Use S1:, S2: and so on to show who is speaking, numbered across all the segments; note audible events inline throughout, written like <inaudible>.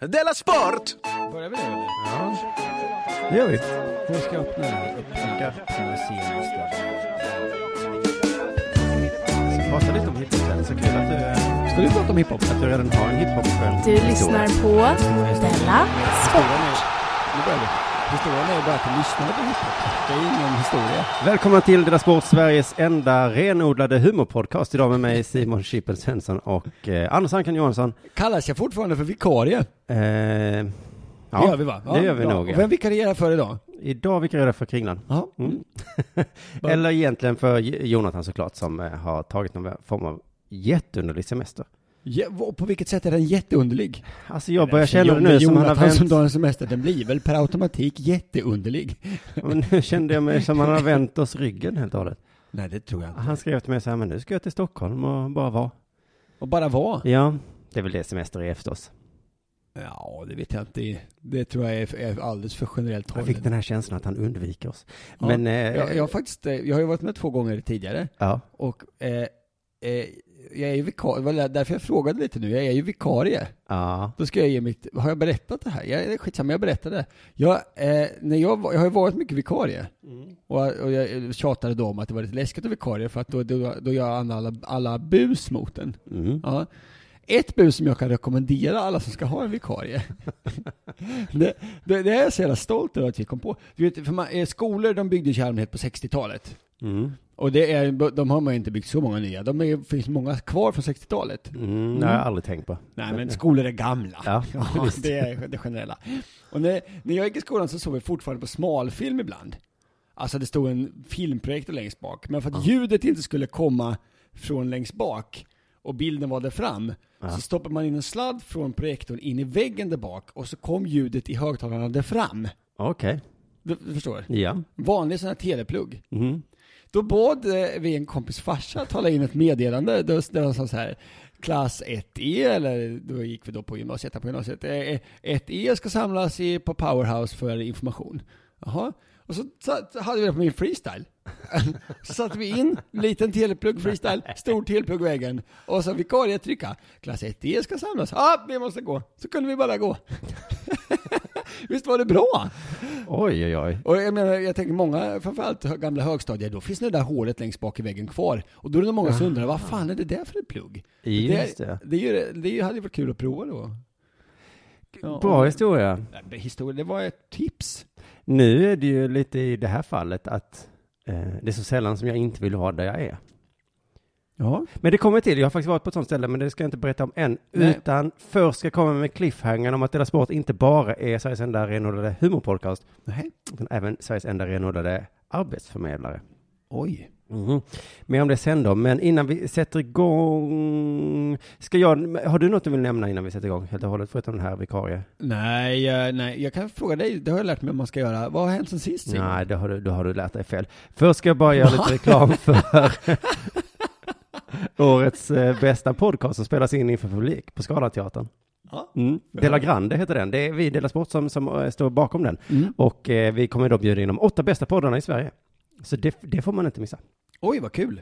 S1: Della Sport!
S2: Börjar vi nu eller?
S3: Ja, det gör vi.
S2: Jag ska öppna här. Öppna öppna senaste.
S3: Prata lite om hiphop sen. Så kul att du... Ska du prata om hiphop? Att du redan har en hiphop
S4: Du lyssnar på Della Sport.
S2: Nu börjar vi. Historien är ju bara att du lyssnade på hiphop. Det är ju ingen historia.
S3: Välkomna till Dela Sport, Sveriges enda renodlade humorpodcast. Idag med mig Simon Chippen Svensson och eh, Anders Ankan Johansson.
S2: Kallas jag fortfarande för vikarie?
S3: Eh, ja,
S2: Ja, det gör vi va? Ja,
S3: det gör vi
S2: bra.
S3: nog.
S2: Och
S3: Ja.
S2: vem vikarierar för idag?
S3: Idag vikarierar jag för Kringland.
S2: Ja.
S3: Mm.
S2: Bara-
S3: Eller egentligen för J- Jonathan såklart, som eh, har tagit någon form av jätteunderlig semester.
S2: Ja, och på vilket sätt är den jätteunderlig?
S3: Alltså jag börjar känna det
S2: Jon-
S3: nu som han har
S2: Jonathan som
S3: vänt
S2: tar en semester, den blir väl per automatik jätteunderlig?
S3: Men nu kände jag mig som han har vänt oss ryggen helt och hållet.
S2: Nej, det tror jag inte.
S3: Han skrev till mig så här, men nu ska jag till Stockholm och bara vara.
S2: Och bara vara?
S3: Ja, det är väl det semester är förstås.
S2: Ja, det vet jag inte. Det tror jag är, är alldeles för generellt
S3: Jag
S2: hållet.
S3: fick den här känslan att han undviker oss.
S2: Ja.
S3: Men, eh,
S2: jag, jag, har faktiskt, eh, jag har ju varit med två gånger tidigare
S3: ja.
S2: och eh, eh, jag är ju vikarie, det var därför jag frågade lite nu, jag är ju vikarie.
S3: Ja.
S2: Då ska jag ge mitt, har jag berättat det här? Jag, det är skitsamma, jag berättade. Jag, eh, när jag, var- jag har ju varit mycket vikarie. Och, och jag eh, tjatade då om att det var lite läskigt att vikarie för att då, då, då gör han alla, alla bus mot den.
S3: Mm.
S2: Ja. Ett bus som jag kan rekommendera alla som ska ha en <laughs> vikarie. det, det, det är jag så jävla stolt över att vi kom på. Du vet, för man, eh, skolor de byggdes ju i allmänhet på 60-talet.
S3: Mm.
S2: Och det är, de har man ju inte byggt så många nya. De är, finns många kvar från 60-talet.
S3: Mm. Det har jag aldrig tänkt på.
S2: Nej men skolor är gamla.
S3: <laughs> Ja, visst.
S2: det är det generella. Och när, när jag gick i skolan så såg vi fortfarande på smalfilm ibland. Alltså det stod en filmprojektor längst bak. Men för att ljudet inte skulle komma från längst bak och bilden var där fram. Så stoppade man in en sladd från projektorn in i väggen där bak och så kom ljudet i högtalarna där fram.
S3: Okej.
S2: Du, du förstår?
S3: Ja.
S2: Vanlig sån här teleplugg.
S3: Mm.
S2: Då bad eh, vi en kompis farsa att tala in ett meddelande där där de sa så här Klass 1E, eller då gick vi då på gymnasiet, här på gymnasiet. eh, eh, 1E ska samlas i, på Powerhouse för information. Jaha. Och så, satt- hade vi det på min freestyle. <laughs> så satte vi in, liten teleplugg freestyle, stor teleplugg vägen. Och så vikarie trycka. Klass 1E ska samlas. Ja, ah, vi måste gå. Så kunde vi bara gå. <laughs> Visst var det bra?
S3: Oj, oj, oj.
S2: Och jag menar, jag tänker många, framförallt hö- gamla högstadier, då finns det där hålet längst bak i väggen kvar. Och då är det nog många som undrar, vad fan är det där för ett plugg?
S3: Ah. Just
S2: det.
S3: det.
S2: Det, är ju det, det hade ju varit kul att prova då. Ja,
S3: Bra
S2: och-
S3: historia.
S2: Nej, men Historia, det var ett tips.
S3: Nu är det ju lite i det här fallet att eh, det är så sällan som jag inte vill vara där jag är.
S2: Ja.
S3: Men det kommer till, jag har faktiskt varit på ett sånt ställe, men det ska jag inte berätta om än.
S2: Nej.
S3: Utan först ska jag komma med cliffhangern om att Dela Sport inte bara är Sveriges enda renodlade humorpodcast,
S2: Nej.
S3: utan även Sveriges enda renodlade arbetsförmedlare.
S2: Oj.
S3: Mhm. Mer om det sen då, men innan vi sätter igång, ska jag, har du något du vill nämna innan vi sätter igång helt och hållet, förutom den här vikarie?
S2: Nej, jag- nej, jag kan fråga dig, det har jag lärt mig hur man ska göra. Vad har hänt sen sist? Simon?
S3: Nej, då har, du, då har du lärt dig fel. Först ska jag bara göra lite
S2: <laughs>
S3: reklam för årets eh, bästa podcast som spelas in inför publik på Scalateatern.
S2: Ja.
S3: Mm. Dela Grande heter den. Det är vi i Dela Sport som, som eh, står bakom den.
S2: Mm.
S3: Och eh, vi kommer då bjuda in de åtta bästa poddarna i Sverige. Så det, det får man inte missa.
S2: Oj, vad kul.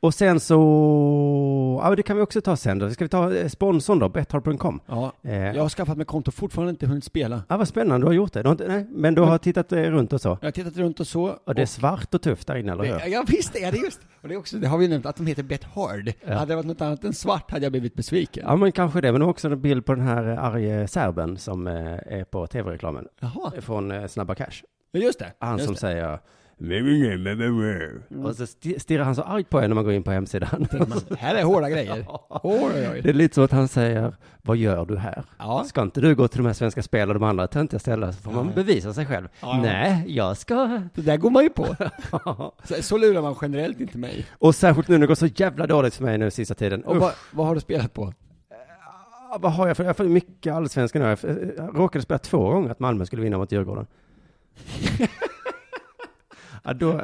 S3: Och sen så, ja det kan vi också ta sen då. Ska vi ta eh, sponsorn då, betthard.com?
S2: Ja.
S3: Eh,
S2: Jag har skaffat mig konto, fortfarande inte hunnit spela.
S3: Ja, vad spännande, du har gjort det. Du har inte, nej, men du har tittat eh, runt och så.
S2: Jag har tittat runt och så.
S3: Och det är svart och tufft där inne, eller hur?
S2: Det, ja visst är det just. Och det, är också, det har vi ju nämnt att de heter Bet Hard. Hade det varit något annat än svart hade jag blivit besviken.
S3: Ja, men kanske det. Men också en bild på den här eh, arge serben som eh, är på tv-reklamen.
S2: Jaha,
S3: Från eh, Snabba Cash.
S2: ja, just det.
S3: Han
S2: just
S3: som
S2: det. Mm.
S3: säger... Och så sti- stirrar han så argt på en när man går in på
S2: <laughs>
S3: hemsidan.
S2: Här är
S3: <laughs>
S2: hårda grejer. Oj, oj,
S3: Det
S2: oj.
S3: är lite så att han säger, vad gör du här?
S2: Ja.
S3: Ska inte du gå till de här svenska spel och de andra töntiga ställena så får man bevisa sig själv.
S2: Ja.
S3: Nej, jag ska...
S2: Det där går man ju på.
S3: <laughs>
S2: Så, så lurar man generellt inte mig.
S3: och särskilt nu när det går så jävla dåligt för mig nu sista tiden.
S2: Och
S3: Usch.
S2: vad, vad har du spelat på?
S3: Ja, vad har jag för, jag har för mycket allsvenskan nu. Jag eh, jag råkade spela två gånger att Malmö skulle vinna mot
S2: <laughs>
S3: Djurgården. ja, då,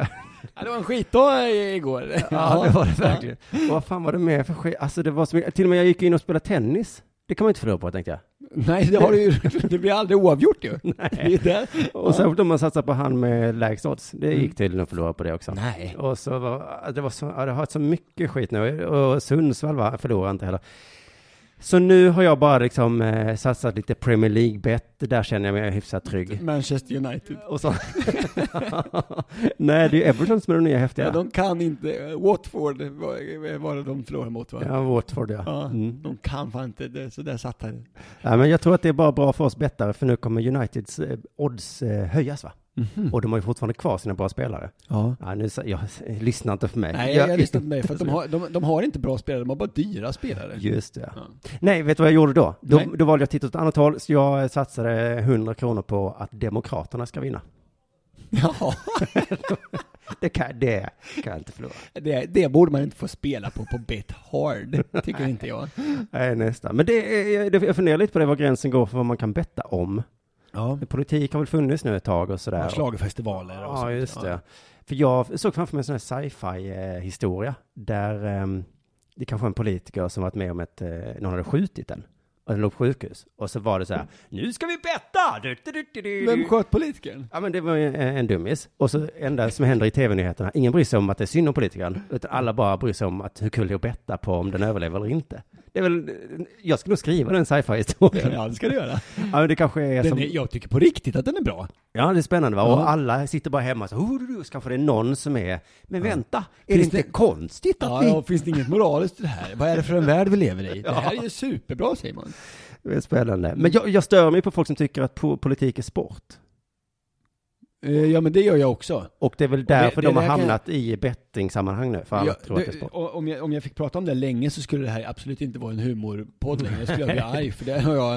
S2: Ja, det var en skitdag i- igår.
S3: <laughs> ja, det var det verkligen. Och vad fan var det med för skit? Alltså det var så mycket, till och med jag gick in och spelade tennis. Det kan man inte förlora på tänkte jag.
S2: <laughs> Nej, det, har du, ju-
S3: <laughs>
S2: det blir aldrig oavgjort ju. Nej. Det
S3: Och särskilt om man satsar på han med lägst odds. Det gick tydligen att förlora på det också.
S2: Mm. Nej.
S3: Och så var, det var så, ja, det har varit så mycket skit nu. Och Sundsvall va, förlorar inte heller. Så nu har jag bara liksom eh, satsat lite Premier League-bett, där känner jag mig hyfsat trygg.
S2: Manchester United.
S3: Och så... <laughs> Nej, det är ju Everton som är de nya häftiga.
S2: Ja,
S3: Ja,
S2: de kan inte, Watford var, var det de förlorade mot va?
S3: Watford ja.
S2: Ja,
S3: Mm.
S2: De kan fan inte, det, så där satt han.
S3: ja. men jag tror att det är bara bra för oss bettare, för nu kommer Uniteds eh, odds eh, höjas va?
S2: Mhm.
S3: Och de har ju fortfarande kvar sina bra spelare.
S2: Ja.
S3: Ja, nu, sa- jag, <laughs> lyssna inte för mig.
S2: Nej, jag lyssnar på mig, för att de har, de, de har inte bra spelare, de har bara dyra spelare.
S3: Just det.
S2: Ja.
S3: Nej, vet du vad jag gjorde då? Då,
S2: Nej.
S3: då valde jag att titta åt ett annat håll, så jag eh, satsade 100 kronor på att Demokraterna ska vinna. <laughs>
S2: <laughs> Ja,
S3: Det kan, det kan jag inte förlora.
S2: det, det borde man inte få spela på, på bet hard, tycker inte jag.
S3: Nej, nästan. Men det, är- det, jag funderar lite på det, var gränsen går för vad man kan betta om.
S2: Ja.
S3: Politik har väl funnits nu ett tag och sådär.
S2: Schlagerfestivaler och
S3: Ja,
S2: sånt.
S3: just det. För jag såg framför mig en sån här sci-fi-historia, där ehm, det kanske var en politiker som varit med om att eh, någon hade skjutit den. Och den låg på sjukhus. Och så var det så här, nu ska vi betta! Du, du, du, du, du.
S2: Vem sköt politikern?
S3: Ja men det var ju en, en dummis. Och så enda som händer i tv-nyheterna, ingen bryr sig om att det är synd om politikern, utan alla bara bryr sig om att hur kul det är att betta på om den överlever eller inte. Det är väl, jag skulle nog skriva den sci-fi-historien. Ja.
S2: Ja, det ska du göra.
S3: men det kanske är
S2: Den
S3: som,
S2: är, jag tycker på riktigt att den är bra.
S3: ja det är spännande va?
S2: Ja.
S3: Och alla sitter bara hemma och så, oh, du, du, så kanske det är någon som är, men vänta, är
S2: Finns
S3: det inte
S2: det-
S3: konstigt att
S2: Ja,
S3: vi...
S2: ja, finns det inget moraliskt i det här? Vad är det för en värld vi lever i? Det här är ju superbra, säger man.
S3: Det är spännande. Men jag, jag stör mig på folk som tycker att po- politik är sport.
S2: Eh, Ja, men det gör jag också.
S3: Och det är väl därför
S2: det
S3: de har
S2: där kan-
S3: hamnat i bettingsammanhang nu, för alla
S2: Ja,
S3: tror att det är
S2: det-
S3: sport.
S2: och- om, jag, om jag fick prata om det länge så skulle det här absolut inte vara en humorpodd längre. Då
S3: <laughs>
S2: skulle jag bli arg, för det har jag,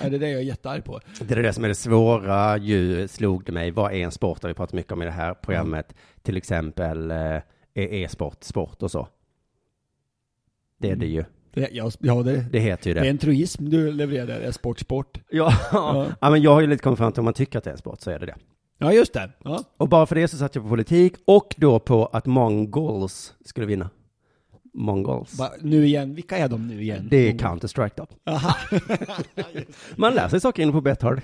S2: ja, det är det jag är jättearg på.
S3: Det är det som är det svåra ju, slog det mig. Vad är en sport? Det har vi pratat mycket om i det här programmet. Till exempel eh, är e-sport sport och så. Det är det ju.
S2: Det, ja, ja, det,
S3: Det heter ju
S2: det
S3: det.
S2: är en truism du levererar där, det är sport, sport.
S3: Ja. <laughs> ja, men jag har ju lite kommit fram till om man tycker att det är en sport så är det det.
S2: Ja, just det. Ja.
S3: Och bara för det så satt jag på politik och då på att mongols skulle vinna. Mongols.
S2: Va, nu igen, vilka är de nu igen?
S3: Det är Counter-Strike då.
S2: <laughs> Aha.
S3: Man lär sig saker inne på Bethard.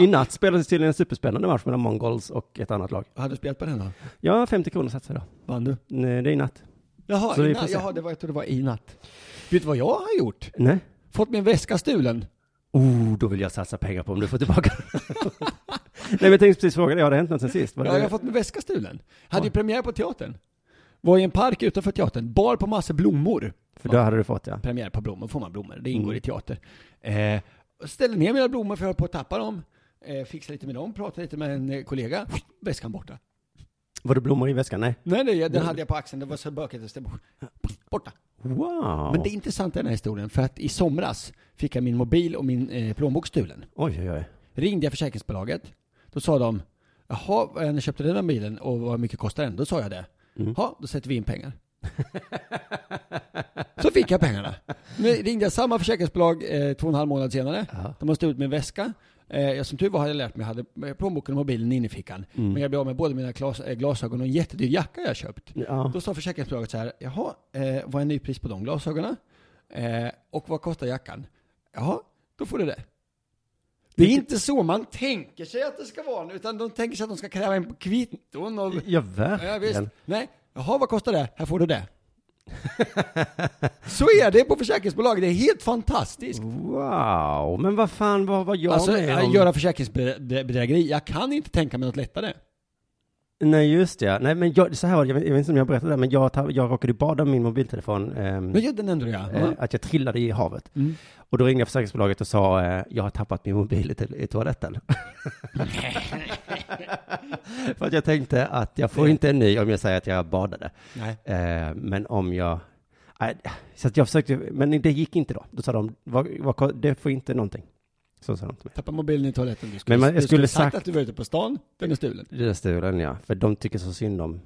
S3: I natt spelades tydligen en superspännande match mellan mongols och ett annat lag.
S2: Vad hade du spelat på den då?
S3: Ja, 50 kronor satsade jag
S2: Vann du?
S3: då. Nej, Det är i natt.
S2: Jaha,
S3: Så vi
S2: i
S3: får
S2: natt.
S3: se.
S2: Jaha det var, jag tror det var i natt. Vet du vad jag har gjort?
S3: Nej.
S2: Fått min väska stulen.
S3: Oh, då vill jag satsa pengar på om du får
S2: <laughs>
S3: tillbaka den. Nej, men jag tänkte precis fråga dig, har det hänt något sen sist? Var
S2: Ja,
S3: det-
S2: jag har fått min väska stulen. Hade ju premiär på teatern. Var i en park utanför teatern, bar på massa blommor.
S3: För då hade du fått, ja.
S2: Premiär på blommor, får man blommor, det ingår i teater. Eh, ställde ner mina blommor för jag höll på att tappa dem. Eh, fixade lite med dem, pratade lite med en eh, kollega. Väskan borta.
S3: Var det blommor i väskan? Nej.
S2: Nej, nej, den hade jag på axeln, det var så bökigt. att ställa- Borta.
S3: Wow.
S2: Men det är intressant i den här historien, för att i somras fick jag min mobil och min eh, plånbok stulen.
S3: Oj, oj, oj.
S2: Ringde jag försäkringsbolaget. Då sa de, jaha, vad är det ni köpte den här bilen och vad mycket kostar den? Då sa jag det. Ja, då sätter vi in pengar. Så fick jag pengarna. Nu ringde jag samma försäkringsbolag eh, två och en halv månad senare. De har stulit min väska. Eh, jag som tur var hade jag lärt mig, jag hade plånboken och mobilen inne i fickan. Men jag blev av med båda mina glas, eh, glasögon och en jättedyr jacka jag köpt.
S3: Ja.
S2: Då sa försäkringsbolaget så här, jaha, eh, vad är nypris på de glasögonen? Eh, och vad kostar jackan? Jaha, då får du det. Det är inte så man tänker sig att det ska vara nu, utan de tänker sig att de ska kräva in på
S3: <laughs>
S2: kvitton och...
S3: Ja,
S2: Ja, visst.
S3: verkligen.
S2: Nej, jaha, vad kostar det? Här får du det. så är det på försäkringsbolag, det är helt fantastiskt.
S3: Wow. Men vad fan, vad var jag
S2: alltså,
S3: med om?
S2: att göra försäkringsbedrägeri, jag kan inte tänka mig något lättare.
S3: Nej, just det. ja. Nej, men jag, så här var det, jag vet jag vet inte om jag berättade det, men jag, tar- jag råkade ju bada med min mobiltelefon. ehm,
S2: Men ja, Mm. den ändrar jag.
S3: eh, att jag trillade i havet. Och då ringde jag försäkringsbolaget och sa, eh, jag har tappat min mobil i, to- i toaletten. <laughs> För att jag tänkte att jag får inte en ny om jag säger att jag badade.
S2: Nej.
S3: Eh, men om jag... Nej, så att jag försökte, men det gick inte då. Då sa de, vad, vad, det får inte någonting. Så sa de till mig.
S2: Tappa mobilen i toaletten. Du skulle,
S3: Men man- jag
S2: du skulle
S3: skulle
S2: sagt
S3: sagt-
S2: att du var ute på stan, den är stulen.
S3: Det är stulen ja, för de tycker så synd om.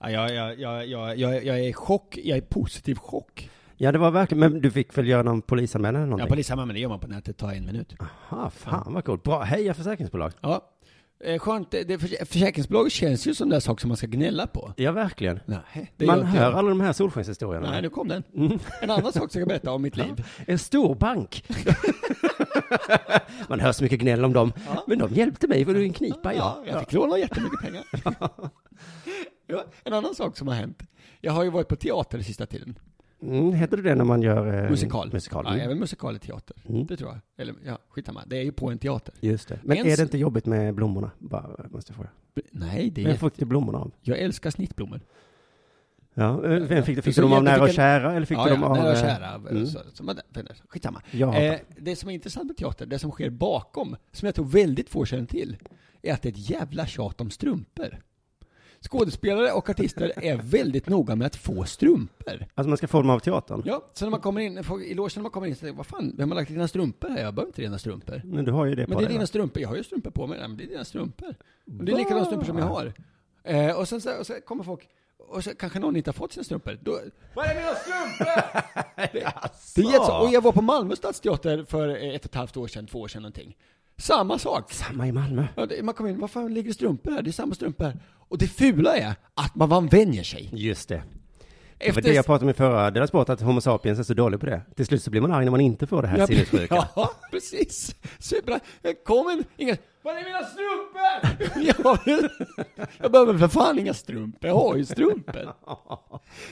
S2: Ja, jag, jag, jag, jag, jag, jag är i chock, jag är i positiv chock.
S3: Ja, det var verkligen, men du fick väl göra någon polisanmälan eller
S2: Ja,
S3: någonting?
S2: polisanmälan, men det gör man på nätet, tar en minut.
S3: Aha, fan vad coolt. Bra, heja försäkringsbolag.
S2: Ja. Eh, Skönt, det, det, förs- försäkringsbolag känns ju som den sak som man ska gnälla på.
S3: Ja, verkligen.
S2: Nej, det
S3: Man
S2: gör inte
S3: hör Mm.
S2: jag.
S3: alla de här solskenshistorierna.
S2: Nej, nu kom den. En annan sak som jag berätta om mitt liv.
S3: En stor bank. <laughs> Man hör så mycket gnäll om dem. Men de hjälpte mig, var du en knipa ja.
S2: jag fick låna jättemycket
S3: <laughs>
S2: pengar. ja, en annan sak som har hänt. Jag har ju varit på teater den sista tiden.
S3: Mm, heter det det när man gör... eh,
S2: Musikal.
S3: musikal.
S2: Ja,
S3: Mm.
S2: även musikal är teater.
S3: Mm.
S2: Det tror jag. Eller ja, skitsamma. Det är ju på en teater.
S3: Just det. Men
S2: En
S3: är
S2: s-
S3: det inte jobbigt med blommorna? Bara, måste jag fråga.
S2: Nej, det
S3: Vem
S2: är...
S3: fick du blommorna av?
S2: Jag älskar snittblommor.
S3: Ja, eh, vem fick, du? fick
S2: Så
S3: du dem av nära och
S2: jättefiken-
S3: kära eller fick
S2: ja,
S3: du dem
S2: ja,
S3: av...
S2: nära och
S3: eh,
S2: kära.
S3: Mm.
S2: Så, så, man- skitsamma.
S3: Jag hatar.
S2: Eh, det som är intressant med teater, det som sker bakom, som jag tror väldigt få känner till, är att det är ett jävla tjat om strumpor. Skådespelare och artister
S3: <laughs>
S2: är väldigt noga med att få strumpor.
S3: Alltså man ska få dem av teatern?
S2: Ja, så när man kommer in, får- i logen när man kommer in, så tänker jag, vad fan, vem har lagt dina strumpor här? Jag behöver inte dina strumpor.
S3: Men du har ju det
S2: Men
S3: på
S2: det är
S3: dig.
S2: dina
S3: va?
S2: strumpor, jag har ju strumpor på mig. Nej, men det är dina strumpor. Och det är likadana strumpor som jag har. Eh, och, sen, så, och så kommer folk, och så kanske någon inte har fått sina strumpor. Då, Var är mina strumpor? <laughs> det, det är jätteså- och jag var på Malmö stadsteater för eh, ett och ett halvt år sedan, två år sedan någonting. Samma sak.
S3: Samma i Malmö.
S2: Ja, det- Man kommer in, vad fan ligger det strumpor här? Det är samma strumpor här. Och det fula är att man man vänjer sig.
S3: Just det. Det var
S2: Efter
S3: det jag pratade om i förra deras sport, att Homo sapiens är så dålig på det. Till slut så blir man arg när man inte får det här sinnessjuka.
S2: <laughs> Ja, ja, precis. Superbra. Kom en, inga... Var är mina strumpor? <laughs> ja, men- jag behöver för fan inga strumpor. Jag har
S3: <laughs>
S2: ju strumpor.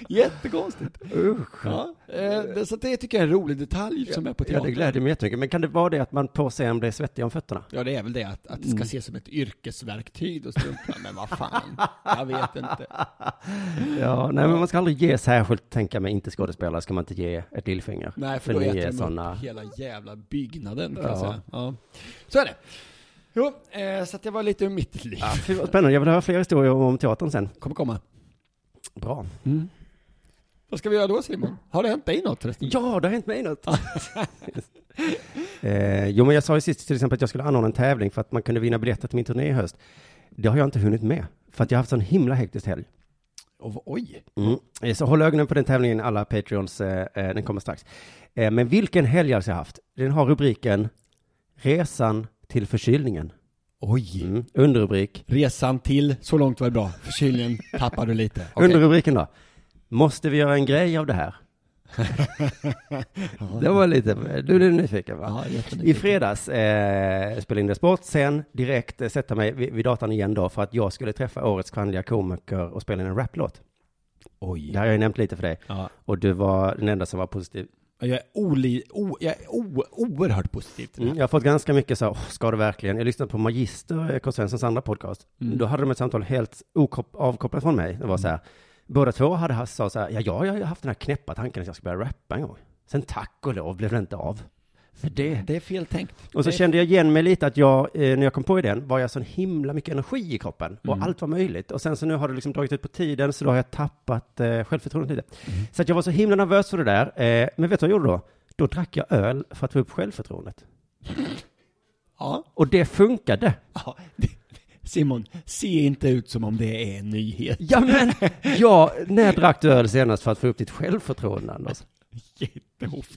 S2: Jättekonstigt.
S3: Usch.
S2: Ja, eh, det, så det tycker jag är en rolig detalj som är
S3: Ja,
S2: på
S3: det
S2: teatern.
S3: gläder mig jättemycket. Men kan det vara det att man på scen blir svettig om fötterna?
S2: Ja, det är väl det att, att det
S3: Mm.
S2: ska ses som ett yrkesverktyg och strumporna, men vad fan. Jag vet inte.
S3: Ja, nej men man ska aldrig ge särskilt, tänka mig, inte skådespelare ska man inte ge ett lillfinger.
S2: Nej, för då
S3: ni
S2: äter
S3: är
S2: de
S3: såna-
S2: upp hela jävla byggnaden, kan
S3: Ja.
S2: jag säga. Ja. Så är det. Jo, eh, så att det var lite ur mitt liv.
S3: Ja, fy, vad spännande, jag vill höra fler historier om, om teatern sen.
S2: Kommer komma.
S3: Bra.
S2: Mm. Vad ska vi göra då Simon? Har det hänt dig något förresten?
S3: Ja, det har hänt mig
S2: <laughs>
S3: något. <laughs> eh, jo, men jag sa ju sist till exempel att jag skulle anordna en tävling för att man kunde vinna biljetter till min turné i höst. Det har jag inte hunnit med, för att jag har haft sån himla hektisk helg.
S2: Och, oj!
S3: Mm. Eh, Så håll ögonen på den tävlingen, alla Patreons, eh, eh, den kommer strax. Eh, men vilken helg alltså jag har haft? Den har rubriken Resan till förkylningen.
S2: Oj!
S3: Mm. Underrubrik.
S2: Resan till, så långt var det bra. Förkylningen tappade du lite.
S3: <laughs>
S2: Okej.
S3: Underrubriken då. Måste vi göra en grej av det
S2: <laughs>
S3: här? det var lite, du blev nyfiken va?
S2: Ja, jättenyfiken.
S3: I fredags eh, spelade in det sport, sen direkt eh, sätta mig vid, vid datorn igen då för att jag skulle träffa årets kvinnliga komiker och spela in en raplåt. Det
S2: Oj.
S3: har jag ju nämnt lite för dig.
S2: Ja.
S3: Och du var den enda som var positiv.
S2: Jag är, oli, o, jag är o, oerhört positiv till det.
S3: Mm, jag har fått ganska mycket så här, "Åh, ska du verkligen? Jag lyssnade på Magister, eh, K. Svenssons andra podcast. Då hade de ett samtal helt okop- avkopplat från mig. Det var så här, båda två hade haft, sa så här, ja, jag har ju haft den här knäppa tanken att jag ska börja rappa en gång. Sen tack och lov blev det inte av. För det,
S2: Det är fel tänkt.
S3: Mm. Och så
S2: det är
S3: kände jag igen mig lite att jag, eh, när jag kom på idén, var jag sån himla mycket energi i kroppen och allt var möjligt. Och sen så nu har det liksom dragit ut på tiden så då har jag tappat eh, självförtroendet lite. Så att jag var så himla nervös för det där. Eh, men vet du vad jag gjorde då? Då drack jag öl för att få upp självförtroendet.
S2: ja.
S3: Och det funkade.
S2: Ja. <laughs> Simon, se inte ut som om det är en nyhet.
S3: Ja <laughs> men, ja, när drack du öl senast för att få upp ditt självförtroende Anders?
S2: <laughs> Jätteofta.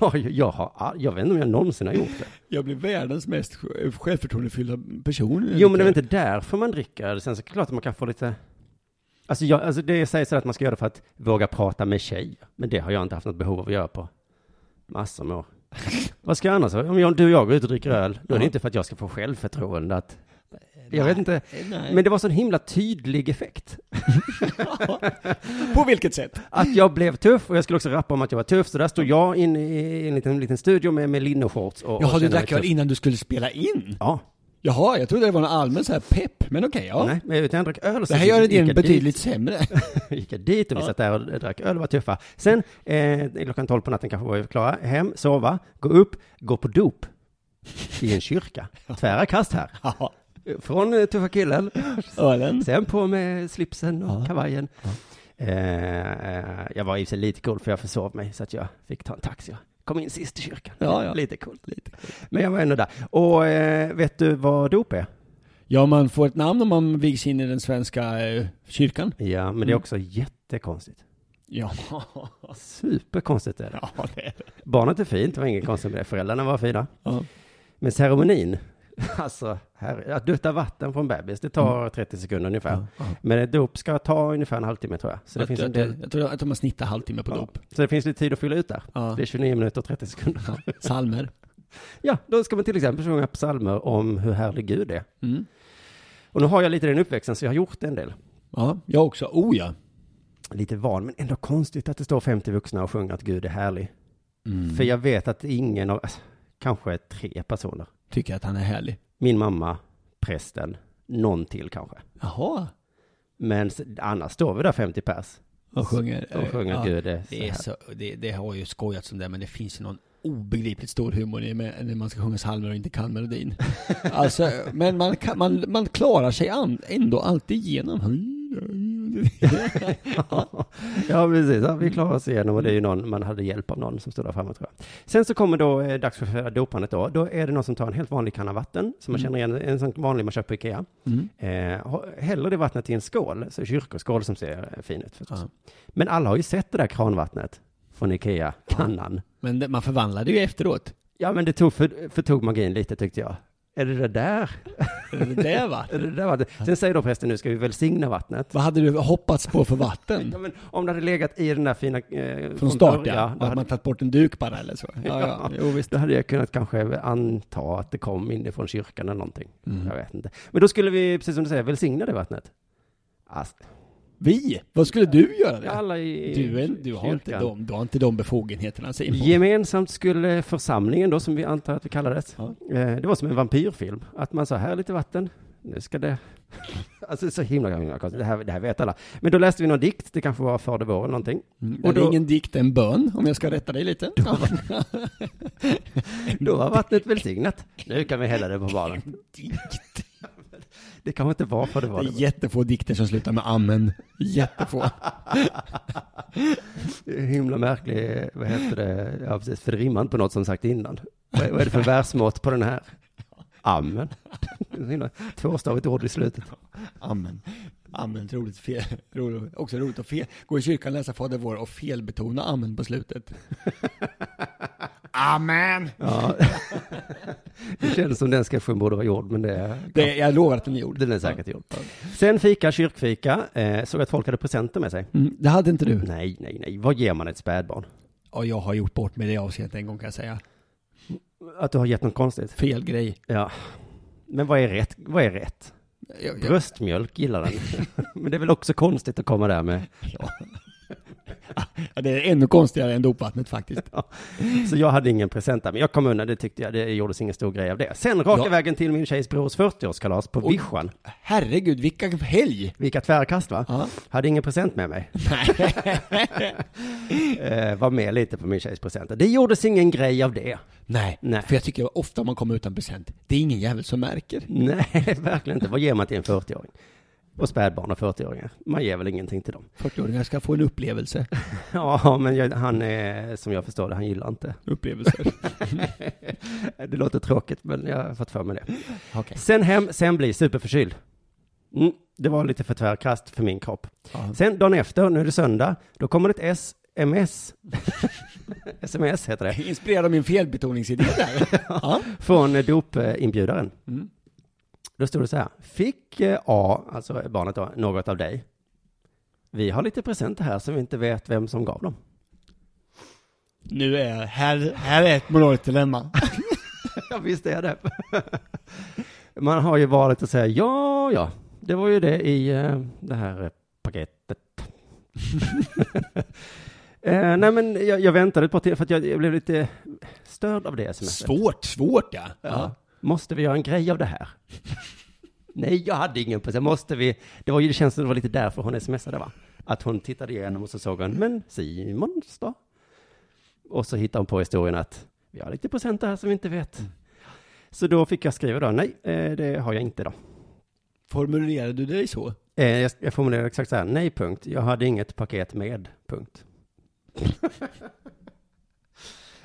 S3: Ja, jag, har, all- jag vet inte om jag någonsin har gjort det.
S2: Jag blir världens mest sj- självförtroendefyllda person.
S3: Jo, men det är väl inte därför man dricker öl. Sen så är det klart att man kan få lite... Alltså, jag, alltså det sägs så att man ska göra det för att våga prata med tjejer. Men det har jag inte haft något behov av att göra på massor <laughs> med år. Vad ska jag annars Om jag, du och jag går ut och dricker öl, då är det
S2: Ja.
S3: inte för att jag ska få självförtroende att... Jag vet inte. Men
S2: Men...
S3: det var så en himla tydlig effekt.
S2: På vilket sätt?
S3: Att jag blev tuff och jag skulle också rappa om att jag var tuff. Så där stod jag inne i en liten, liten studio med, med linneshorts och... och
S2: Jaha,
S3: kände
S2: du
S3: mig
S2: drack öl
S3: tuff.
S2: innan du skulle spela in?
S3: Ja.
S2: Jaha, jag trodde det var en allmän så här pepp, men okej, ja.
S3: Nej, men utan jag drack öl. och
S2: Det
S3: sen
S2: här
S3: så
S2: gör
S3: gick jag
S2: det
S3: dit.
S2: betydligt sämre.
S3: <laughs> gick jag dit och vi satt där och drack öl och var tuffa. Sen, eh, klockan tolv på natten kanske var vi klara, hem, sova, gå upp, gå på dop i en kyrka. Tvära kast här.
S2: Ja,
S3: Från eh, tuffa killen,
S2: ölen.
S3: sen på med slipsen och
S2: Ja.
S3: kavajen. Eh, eh, jag var i och för sig lite cool för jag försov mig så att jag fick ta en taxi. Jag kom in sist i kyrkan.
S2: Ja, ja.
S3: Lite coolt. Lite coolt. Men jag var ändå där. Och eh, vet du vad dop är?
S2: Ja, man får ett namn om man vigs in i den svenska eh, kyrkan.
S3: Ja, men det är också jättekonstigt. <laughs>
S2: Ja,
S3: Superkonstigt är det.
S2: ja det är det.
S3: Barnet är fint, det var inget konstigt med det. Föräldrarna var fina.
S2: Ja.
S3: Men ceremonin, <laughs> alltså, här, att dutta vatten från bebis, det tar
S2: Mm.
S3: 30 sekunder ungefär. Men ett dop ska ta ungefär en halvtimme tror jag. Så det,
S2: Jag,
S3: finns
S2: tror-
S3: en
S2: jag,
S3: del,
S2: tror- jag tror att de har snittat halvtimme på
S3: Ja.
S2: dop.
S3: så det finns lite tid att fylla ut där.
S2: Ja.
S3: Det är 29 minuter och 30
S2: <laughs>
S3: sekunder.
S2: Ja. Salmer.
S3: Ja, då ska man till exempel sjunga psalmer om hur härlig Gud är.
S2: Mm.
S3: Och nu har jag lite den uppväxten, så jag har gjort en del.
S2: Ja, jag också. Oh ja.
S3: lite van, men ändå konstigt att det står 50 vuxna och sjunger att Gud är härlig.
S2: Mm.
S3: För jag vet att ingen av, alltså, kanske tre personer,
S2: Tycker att han är härlig.
S3: min mamma, prästen, någon till kanske.
S2: Jaha.
S3: Men s- annars står vi där 50 pers
S2: Och sjunger. eh,
S3: och sjunger
S2: ja.
S3: Gud är, så
S2: Det, är
S3: här.
S2: så, det, det har ju skojats om det, men det finns ju någon obegripligt stor humor i med- när man ska sjunga psalmer och inte kan <laughs> melodin. Alltså, men man, kan, man, man klarar sig an, ändå alltid igenom. <laughs> Mm.
S3: <laughs> Ja, precis. Ja, vi klarar oss igenom och det är ju någon, man hade hjälp av någon som stod där framme tror jag. Sen så kommer då eh, dags för själva dopandet då. Då är det någon som tar en helt vanlig kanna vatten, som man
S2: Mm.
S3: känner igen, en sån vanlig man köper på Ikea.
S2: Mm.
S3: Eh, ha- häller det vattnet i en skål, så kyrkoskål som ser eh, fin ut förstås.
S2: Ja.
S3: Men alla har ju sett det där kranvattnet från Ikea, kannan.
S2: Men det, man förvandlar det ju efteråt.
S3: Ja, men det tog för, förtog magin lite tyckte jag. Är det det där?
S2: Det där va? <laughs>
S3: Är det det där vattnet? Sen säger då prästen, nu ska vi välsigna vattnet.
S2: Vad hade du hoppats på för
S3: Ja,
S2: vatten?
S3: men om det hade legat i den där fina... Eh,
S2: Mm. Från start
S3: början,
S2: ja.
S3: då
S2: Och att
S3: hade,
S2: man tagit bort en duk bara eller så. <laughs> Ja, ja. Jo, visst.
S3: då hade jag kunnat kanske anta att det kom inifrån kyrkan eller någonting.
S2: Mm.
S3: Jag vet inte. Men då skulle vi, precis som du säger, välsigna det vattnet. Alltså,
S2: Vi? Vad skulle du göra det?
S3: alla i
S2: Du, är, du, har inte
S3: kyrkan.
S2: de, du har inte de befogenheterna Simon.
S3: Gemensamt skulle församlingen då, som vi antar att det kallades,
S2: Ja.
S3: eh, det var som en vampyrfilm. Att man sa, här är lite vatten, nu ska
S2: <laughs>
S3: det... alltså så himla, himla konstigt, det här, det här vet alla. Men då läste vi någon dikt, det kanske var Fader vår eller någonting.
S2: Mm,
S3: Och
S2: och det är
S3: då-
S2: ingen dikt, en bön, om jag ska rätta dig lite.
S3: Då var vattnet välsignat. Nu kan vi hälla det på
S2: <laughs>
S3: barnen.
S2: <laughs> dikt.
S3: Det kanske inte var Fader
S2: Det
S3: vår.
S2: är jättefå dikter som slutar med amen. Jättefå.
S3: Det är en himla märklig, vad heter det, ja precis, för det rimmar inte på något som sagt innan. Vad vad är det för versmått på den här? Amen. Det är så himla Tvåstavigt ord i slutet.
S2: <laughs> Amen. Amen, roligt fel. Roligt, också roligt att fel. Gå i kyrkan, läsa Fader vår och felbetona amen på slutet. Amen!
S3: Ja. Det känns som den sketchen borde vara gjord, men det är,
S2: Det, jag lovar att den är gjord.
S3: den är säkert gjord. Sen fika, kyrkfika, eh, såg att folk hade presenter med sig.
S2: Mm, det hade inte du.
S3: Nej, nej, nej, vad ger man ett spädbarn?
S2: Ja, jag har gjort bort mig i det avseendet en gång kan jag säga.
S3: Att du har gett något konstigt?
S2: Fel grej.
S3: Ja. Men vad är rätt? Vad är rätt?
S2: Jag, jag,
S3: Bröstmjölk gillar den. Men det är väl också konstigt att komma där med.
S2: ja, det är ännu konstigare än dopvattnet faktiskt.
S3: Så jag hade ingen present där, men jag kom undan, det tyckte jag, det gjordes ingen stor grej av det. Sen raka
S2: Ja.
S3: vägen till min tjejs brors 40-årskalas på
S2: Oj.
S3: vischan.
S2: Herregud, vilka helg!
S3: Vilka tvärkast va?
S2: Ja. <laughs>
S3: Hade ingen present med mig. eh, var med lite på min tjejs presenter. Det gjordes ingen grej av det.
S2: Nej,
S3: Nej.
S2: för jag tycker ofta man kommer utan present. Det är ingen jävel som märker.
S3: Nej, <laughs> verkligen inte. Vad ger man till en 40-åring? Och spädbarn och 40-åringar. Man ger väl ingenting till dem. <laughs>
S2: 40-åringar ska få en <laughs> upplevelse.
S3: Ja, men jag, han är, som jag förstår det, han gillar
S2: <laughs>
S3: inte.
S2: Upplevelser.
S3: Det låter tråkigt, men jag har fått för mig det.
S2: Okej.
S3: Sen hem, sen bli superförkyld. Mm, det var lite för tvärkast för min kropp.
S2: Ja.
S3: Sen dagen efter, nu är det söndag, då kommer det ett <laughs> SMS. SMS heter det.
S2: Inspirerad av min felbetoningsidé där. <laughs> ja.
S3: Från eh, dopinbjudaren.
S2: Mm.
S3: Då stod det så här. Fick eh, A, alltså barnet då, något av dig? Vi har lite presenter här som vi inte vet vem som gav dem.
S2: Nu är, här, här är ett moraliskt dilemma.
S3: <laughs> Ja, visst är det. <laughs> Man har ju valet att säga ja, ja, det var ju det i eh, det här eh, <laughs> paketet. eh, nej, men jag, jag väntade ett par till för att jag, jag blev lite störd av det sms.
S2: Svårt, svårt ja.
S3: Ja. Måste vi göra en grej av det
S2: <laughs>
S3: här? nej, jag hade ingen present. Måste vi? Det var ju det känns som det var lite därför hon smsade, va? Att hon tittade igenom och så såg hon, men Simons då? Och så hittade hon på historien att vi har lite presenter här som vi inte vet.
S2: Mm.
S3: Så då fick jag skriva då, nej, eh, det har jag inte då.
S2: Formulerade du dig så?
S3: Eh, Jag, jag formulerade exakt så här, nej punkt, jag hade inget paket med
S2: <laughs>
S3: punkt.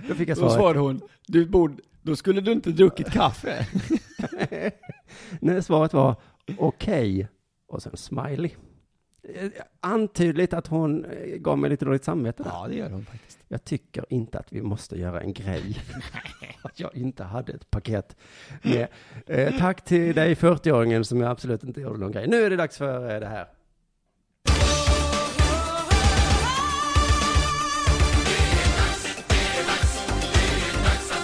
S3: då fick jag
S2: Då
S3: svaret,
S2: svarade hon, du borde, då skulle du inte druckit kaffe.
S3: <laughs> nej, svaret var okej och sen smiley. Eh, Antydligt att hon eh, gav mig lite dåligt samvete där.
S2: Ja, det gör hon faktiskt.
S3: Jag tycker inte att vi måste göra en grej. <laughs> Att jag inte hade ett paket med. Eh, tack till dig 40-åringen som jag absolut inte gjorde någon grej. Nu är det dags för eh, det här.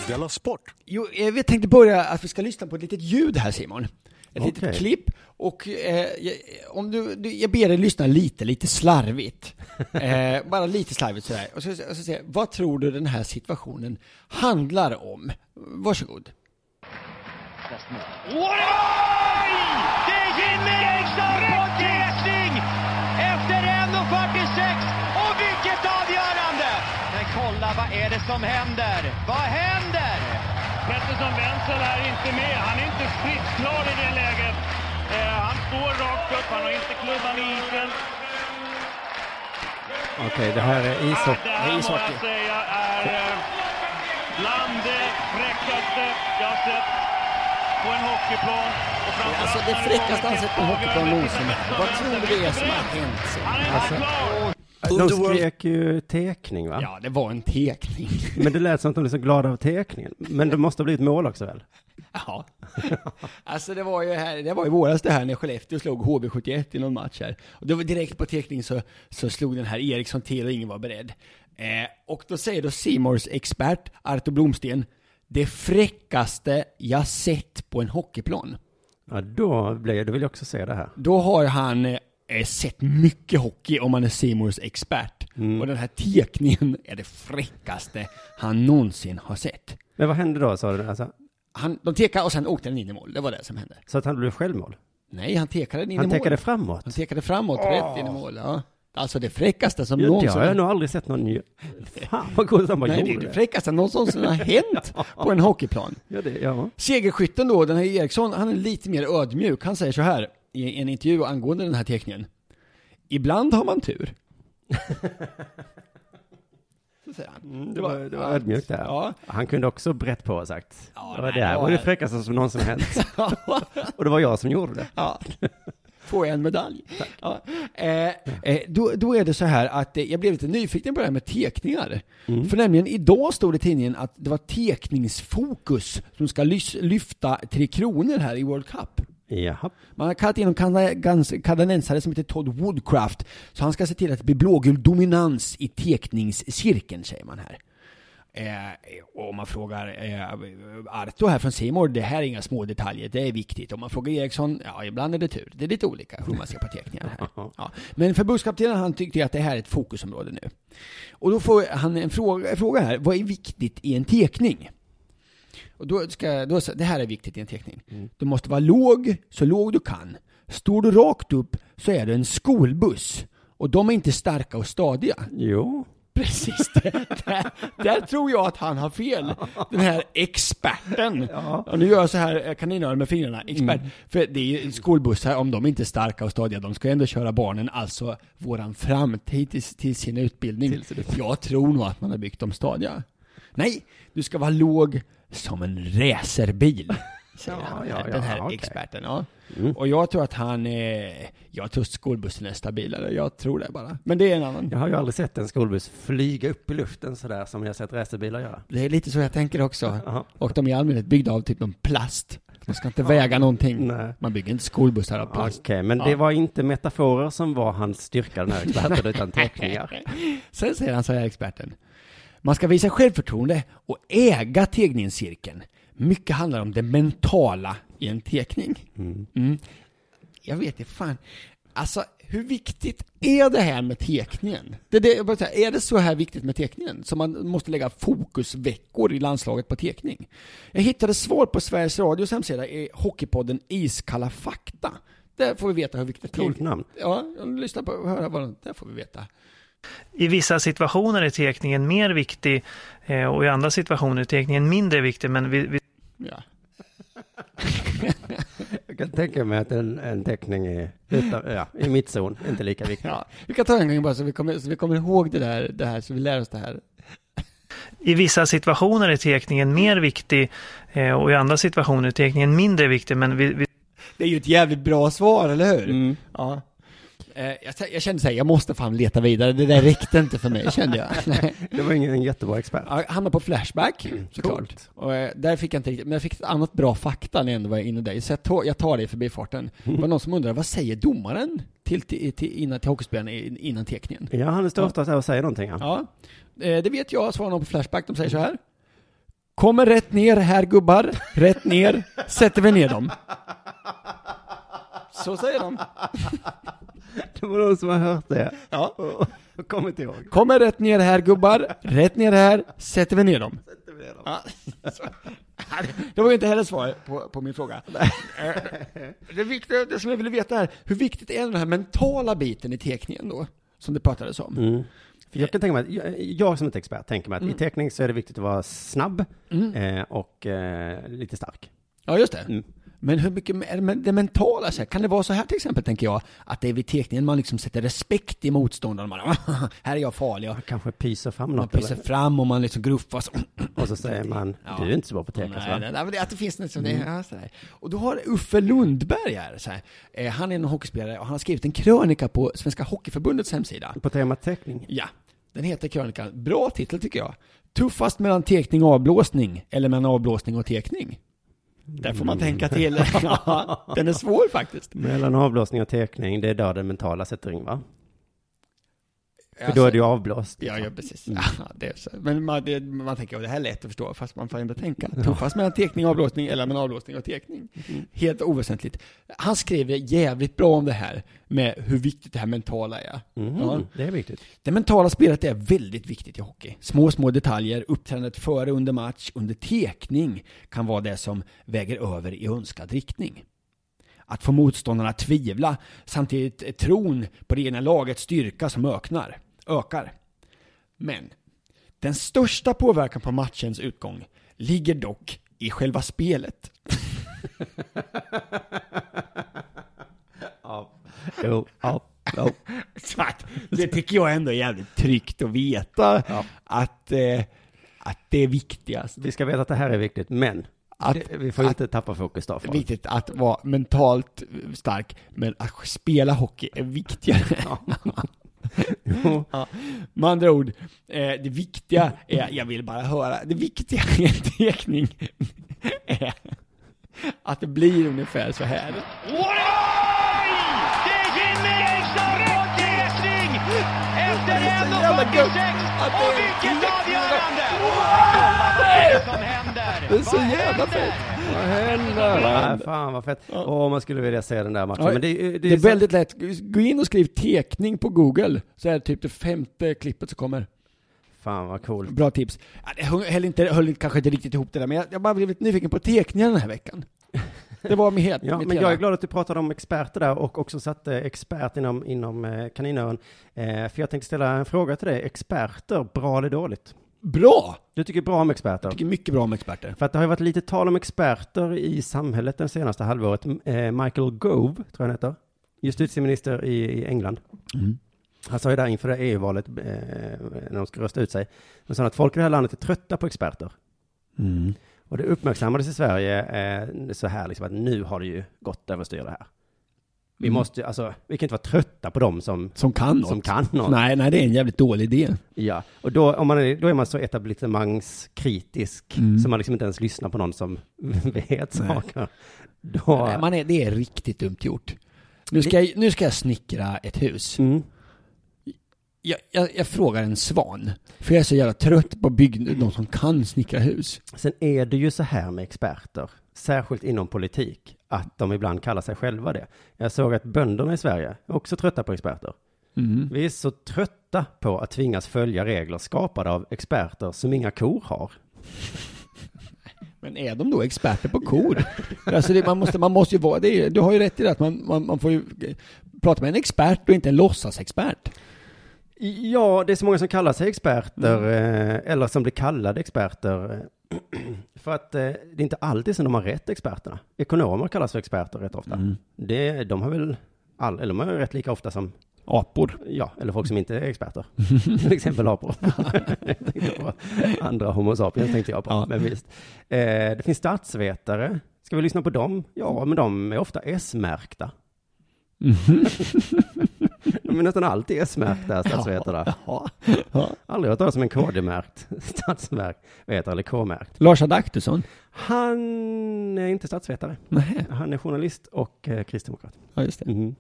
S1: Della Sport!
S2: Jo, eh, vi tänkte börja att vi ska lyssna på ett litet ljud här Simon. Ett litet
S3: Okej.
S2: klipp. Och eh, jag- om du, du, jag ber dig lyssna lite, lite slarvigt. Eh, bara lite slarvigt sådär. Och så, och så, säger jag, vad tror du den här situationen handlar om? Varsågod.
S5: Oj! Det är Jimmy Eriksson på tätning efter 1.46 och vilket avgörande! Men kolla, vad är det som händer? Vad händer?
S6: Pettersson Wenzel är inte med. Han är inte stridsklar i det läget. Eh, han står rakt upp. Han har inte klubban i isen.
S3: Okej, det här är
S6: Ah,
S3: ishockey.
S6: det här må jag säga är eh, bland det fräckaste jag har sett på en hockeyplan. Och framförallt
S2: Alltså det
S6: när
S2: fräckaste
S6: kommer
S2: han sett på
S6: till
S2: hockeyplan någonsin.
S6: avgörande
S2: Alltså. Vad tror
S6: tillfälle.
S2: du det är som har hänt? Simon?
S6: Han är inte klar!
S3: De
S1: Underworld.
S3: skrek ju tekning va?
S2: Ja, det var en tekning.
S3: Men det lät som att de blev så glada av tekningen. Men det måste ha blivit mål också väl?
S2: Ja. <laughs> Alltså det var ju här, det var i våras det här när Skellefteå slog HV71 i någon match här. Och då var direkt på teckning så, så slog den här Eriksson till och ingen var beredd. Eh, och då säger då Simors expert Arto Blomsten, det fräckaste jag sett på en hockeyplan.
S3: Ja, då, blev, då vill jag också se det här.
S2: Då har han eh, sett mycket hockey om han är Simors expert. Och den här teckningen är det fräckaste han någonsin har sett.
S3: Men vad hände då sa du? Alltså,
S2: Han, de tekade och sen åkte den in i mål, det var det som hände.
S3: så att han blev självmål?
S2: Nej, han tekade den in i
S3: Han
S2: mål.
S3: tekade framåt?
S2: Han tekade framåt, rätt in i mål. Ja. Alltså det fräckaste som
S3: Ja, det
S2: någonsin...
S3: har jag nog aldrig sett någon ju. Fan vad coolt att han bara
S2: Nej, det är
S3: gjorde
S2: det fräckaste någonsin har hänt på en hockeyplan.
S3: Ja, det, ja.
S2: Segerskytten då, den här Eriksson, han är lite mer ödmjuk. Han säger så här i en intervju angående den här teckningen. Ibland har man tur. <laughs> så säger han.
S3: Det var, det var ödmjukt där.
S2: Ja.
S3: Han kunde också brett på och sagt.
S2: Ja,
S3: det var
S2: nej,
S3: det här
S2: det var-
S3: var det fräckaste som någonsin
S2: <laughs>
S3: hänt. och det var jag som gjorde det.
S2: Ja. Får jag en medalj? Ja. Eh, eh, då, då är det så här att eh, jag blev lite nyfiken på det här med teckningar. För nämligen idag stod det i tidningen att det var teckningsfokus som ska lys- lyfta Tre Kronor här i World Cup.
S3: Jaha.
S2: Man har kallat in en kana- gans- kanadensare som heter Todd Woodcraft, så han ska se till att det blir blågul dominans i teckningscirkeln, säger man här. Eh, och om man frågar eh, Arto här från Simor, det här är inga små detaljer, det är viktigt. Om man frågar Eriksson, ja ibland är det tur. Det är lite olika hur man ser på teckningar här. Ja. Men förbundskaptenen han tyckte att det här är ett fokusområde nu. Och då får han en fråga, fråga här, vad är viktigt i en teckning? Och då ska, då, det här är viktigt i en teckning. Du måste vara låg, så låg du kan. Står du rakt upp så är du en skolbuss. Och de är inte starka och stadiga.
S3: Jo.
S2: Precis, det. där, där tror jag att han har fel. Den här experten. Och nu gör jag så här eh, kaninöron med fingrarna,
S3: Mm.
S2: expert. För det är ju skolbussar, om de inte är starka och stadiga, de ska ju ändå köra barnen, alltså våran framtid till, till sin utbildning. Jag tror nog att man har byggt dem stadiga. Nej, du ska vara låg som en racerbil. Säger
S3: Ja,
S2: han,
S3: ja, ja,
S2: den här
S3: okej. Mm.
S2: experten. Ja. Och jag tror att han, eh, jag tror skolbussen är stabilare, jag tror det bara. Men det är en annan.
S3: Jag har ju aldrig sett en skolbuss flyga upp i luften sådär som jag har sett racerbilar göra.
S2: Det är lite så jag tänker också. Och de är i allmänhet byggda av typ en plast. De ska inte väga någonting.
S3: Nej.
S2: Man bygger inte skolbussar av
S3: Okej,
S2: plast.
S3: men
S2: Ja.
S3: det var inte metaforer som var hans styrka den här experten,
S2: <laughs>
S3: utan teckningar.
S2: Sen säger han så här, experten. Man ska visa självförtroende och äga teckningscirkeln. Mycket handlar om det mentala i en teckning. Mm. Jag vet inte fan. Alltså, hur viktigt är det här med teckningen? Det är, det, jag bara säger, är det så här viktigt med teckningen? Så man måste lägga fokusveckor i landslaget på teckning? Jag hittade svar på Sveriges Radios hemsida i Hockeypodden Iskalla fakta. Där får vi veta hur viktigt
S3: Coolt namn.
S2: Ja, lyssna på och höra vad de, där får vi veta.
S7: I vissa situationer är tekningen mer viktig eh, och i andra situationer är tekningen mindre viktig. Men vi, vi
S2: Ja.
S3: Jag kan tänka mig att en, en teckning i, utan, ja, i mitt zon är inte lika viktig.
S2: Ja, vi kan ta en gång bara så vi kommer, så vi kommer ihåg det där, det här, så vi lär oss det här.
S7: I vissa situationer är tekningen mer viktig eh, och i andra situationer är tekningen mindre viktig. Men vi, vi
S2: Det är ju ett jävligt bra svar, eller hur? Ja. Eh, jag, jag kände såhär, jag måste fan leta vidare, det där räckte inte för mig, kände jag. <laughs> Nej.
S3: Det var ingen en jättebra expert.
S2: Ja, Jag hamnade på Flashback, <clears throat> såklart. Och, eh, där fick jag inte riktigt, men jag fick ett annat bra fakta när jag ändå var inne där. Så jag tar, jag tar det i förbifarten. Det var någon som undrade, vad säger domaren till, till, till, innan, till hockeyspelarna i- innan teckningen?
S3: Ja, han står ofta så här och säger någonting. Ja.
S2: Ja, eh, det vet jag, svarar någon på Flashback, de säger så här. Kommer rätt ner här gubbar, rätt ner, sätter vi ner dem. Så säger de.
S3: Det var någon som har hört det.
S2: Ja.
S3: Och, <laughs> och kommit ihåg.
S2: Kommer rätt ner här gubbar, rätt ner här, sätter vi ner dem. Ja. Så- Det var ju inte heller svar på, på min fråga. Eh, Det, viktiga, det som jag ville veta är, hur viktigt är den här mentala biten i teckningen då? Som det pratades om.
S3: För jag kan tänka mig, att, jag, jag som ett expert tänker mig att
S2: Mm.
S3: i teckning så är det viktigt att vara snabb eh, och eh, lite stark.
S2: Ja, just det.
S3: Mm.
S2: Men hur mycket är det men- det mentala? Så här? Kan det vara så här till exempel, tänker jag, att det är vid teckningen man liksom sätter respekt i motståndaren. Man, <laughs> här är jag farlig. och
S3: Kanske pyser fram
S2: Man
S3: något
S2: pyser
S3: eller,
S2: fram och man liksom gruffas. <clears throat>
S3: och så säger man,
S2: Ja.
S3: du är inte så bra på teckning
S2: Nej,
S3: va? Mm.
S2: nej, nej, men det, att det finns något som det, ja, sådär. Och då har Uffe Lundberg här, så här. Eh, han är en hockeyspelare och han har skrivit en krönika på Svenska Hockeyförbundets hemsida.
S3: På temat teckning.
S2: Ja, den heter krönikan. Bra titel tycker jag. Tuffast mellan tekning och avblåsning, eller mellan avblåsning och tekning. Där får man tänka till.
S3: Mm.
S2: <laughs> Ja, den är svår faktiskt.
S3: Mellan avblåsning och teckning, det är där den mentala sätter in va? För då är det ju Mm. avblåst. liksom.
S2: Ja, ja precis. Ja, det är så. Men man, det, man tänker, "Åh, det här är lätt att förstå, fast man får ändå tänka. Tuffast mellan teckning och avblåsning, eller mellan avblåsning och teckning.
S3: Mm.
S2: Helt oväsentligt. Han skriver jävligt bra om det här, med hur viktigt det här mentala är.
S3: Mhm,
S2: Ja.
S3: Det är viktigt.
S2: Det mentala spelet är väldigt viktigt i hockey. Små, små detaljer, uppträdandet före, under match, under tekning kan vara det som väger över i önskad riktning. Att få motståndarna att tvivla, samtidigt är tron på det egna lagets styrka som öknar, ökar. Men, den största påverkan på matchens utgång ligger dock i själva <laughs> spelet.
S3: Jo, ja, ja.
S2: Så att, det tycker jag ändå är jävligt tryggt att veta, att, eh, att det är viktigast.
S3: Vi ska veta att det här är viktigt, men
S2: Att-
S3: det, vi får inte tappa fokus då. folk.
S2: viktigt att vara mentalt stark, men att spela hockey är viktigare.
S3: <laughs> Jo.
S2: Ja. Med andra ord, eh, det viktiga är, jag vill bara höra, det viktiga i en teckning är att det blir ungefär så här.
S5: Oj! Det är Jimmy Eriksson rakt i rättning! Efter
S2: Det är så
S5: 1.46
S2: jävla gött att det
S5: och
S2: är
S5: vilket
S2: direkt
S5: avgörande!
S2: direkt.
S5: Kolla vad som händer!
S2: Det är så
S5: Vad
S2: jävla
S5: händer?
S2: fett.
S3: Vad händer? fan vad fett. Åh, man skulle vilja se den där matchen. Men det, är- det, är
S2: det är
S3: så-
S2: väldigt lätt, gå in och skriv teckning på google, så är det typ det femte klippet som kommer.
S3: Fan vad coolt.
S2: Bra tips. Ja, det höll, höll inte, höll inte- kanske inte riktigt ihop det där, men jag, jag bara blev lite nyfiken på teckningar den här veckan. Det var med helt,
S3: Ja,
S2: mitt
S3: men
S2: hela.
S3: jag är glad att du pratade om experter där och också satte expert inom, inom eh, kaninöron. Eh, för jag tänkte ställa en fråga till dig. Experter, bra eller dåligt?
S2: Bra!
S3: Du tycker bra om experter?
S2: Jag tycker mycket bra om experter.
S3: För att det har ju varit lite tal om experter i samhället den senaste halvåret. M- Eh, Michael Gove, tror jag han heter, justitieminister i, i England.
S2: Mm.
S3: Han sa ju där inför det här EU-valet, eh, när de skulle rösta ut sig, men sa att folk i det här landet är trötta på experter.
S2: Mm.
S3: Och det uppmärksammades i Sverige eh, så här, liksom att nu har det ju gått överstyr det här. Vi
S2: Mm.
S3: måste, alltså, vi kan inte vara trötta på dem som,
S2: Som kan något.
S3: som kan något.
S2: Nej, nej, det är en jävligt dålig idé.
S3: Ja, och då, om man är, då är man så etablissemangskritisk
S2: Mm.
S3: så man liksom inte ens lyssnar på någon som <laughs> vet saker. Då,
S2: Nej, man är, det är riktigt dumt gjort. Nu ska, jag, nu ska jag snickra ett hus.
S3: mm,
S2: Jag, jag, jag frågar en svan, för jag är så jävla trött på bygg, de som kan snickra hus.
S3: sen är det ju så här med experter, särskilt inom politik, att de ibland kallar sig själva det. Jag såg att bönderna i Sverige är också trötta på experter. Vi är så trötta på att tvingas följa regler skapade av experter som inga kor har.
S2: Men är de då experter på <laughs> kor? alltså det, man, måste, man måste ju vara, det är, du har ju rätt i det att man, man, man får ju eh, prata med en expert och inte en låtsasexpert.
S3: Ja, det är så många som kallar sig experter, eh, eller som blir kallade experter. eh, <clears throat> För att eh, det är inte alltid som de har rätt, experterna. Ekonomer kallas för experter rätt ofta.
S2: Mm.
S3: Det, de har väl all, eller de har rätt lika ofta som,
S2: Apor.
S3: ja, eller folk som inte är experter. <laughs> Till exempel
S2: <laughs>
S3: apor. <laughs> Jag tänkte på Andra homo sapiens tänkte jag på,
S2: Ja.
S3: men visst. Eh, det finns statsvetare. Ska vi lyssna på dem? Ja, men de är ofta
S2: <laughs>
S3: S-märkta. de är nästan alltid S-märkta, statsvetare.
S2: <laughs> Ja.
S3: Aldrig hört talas om en KD-märkt <laughs> statsvetare eller K-märkt.
S2: Lars Adaktusson?
S3: Han är inte statsvetare.
S2: Nej.
S3: Han är journalist och eh, kristdemokrat.
S2: Ja, just det.
S3: Mhm.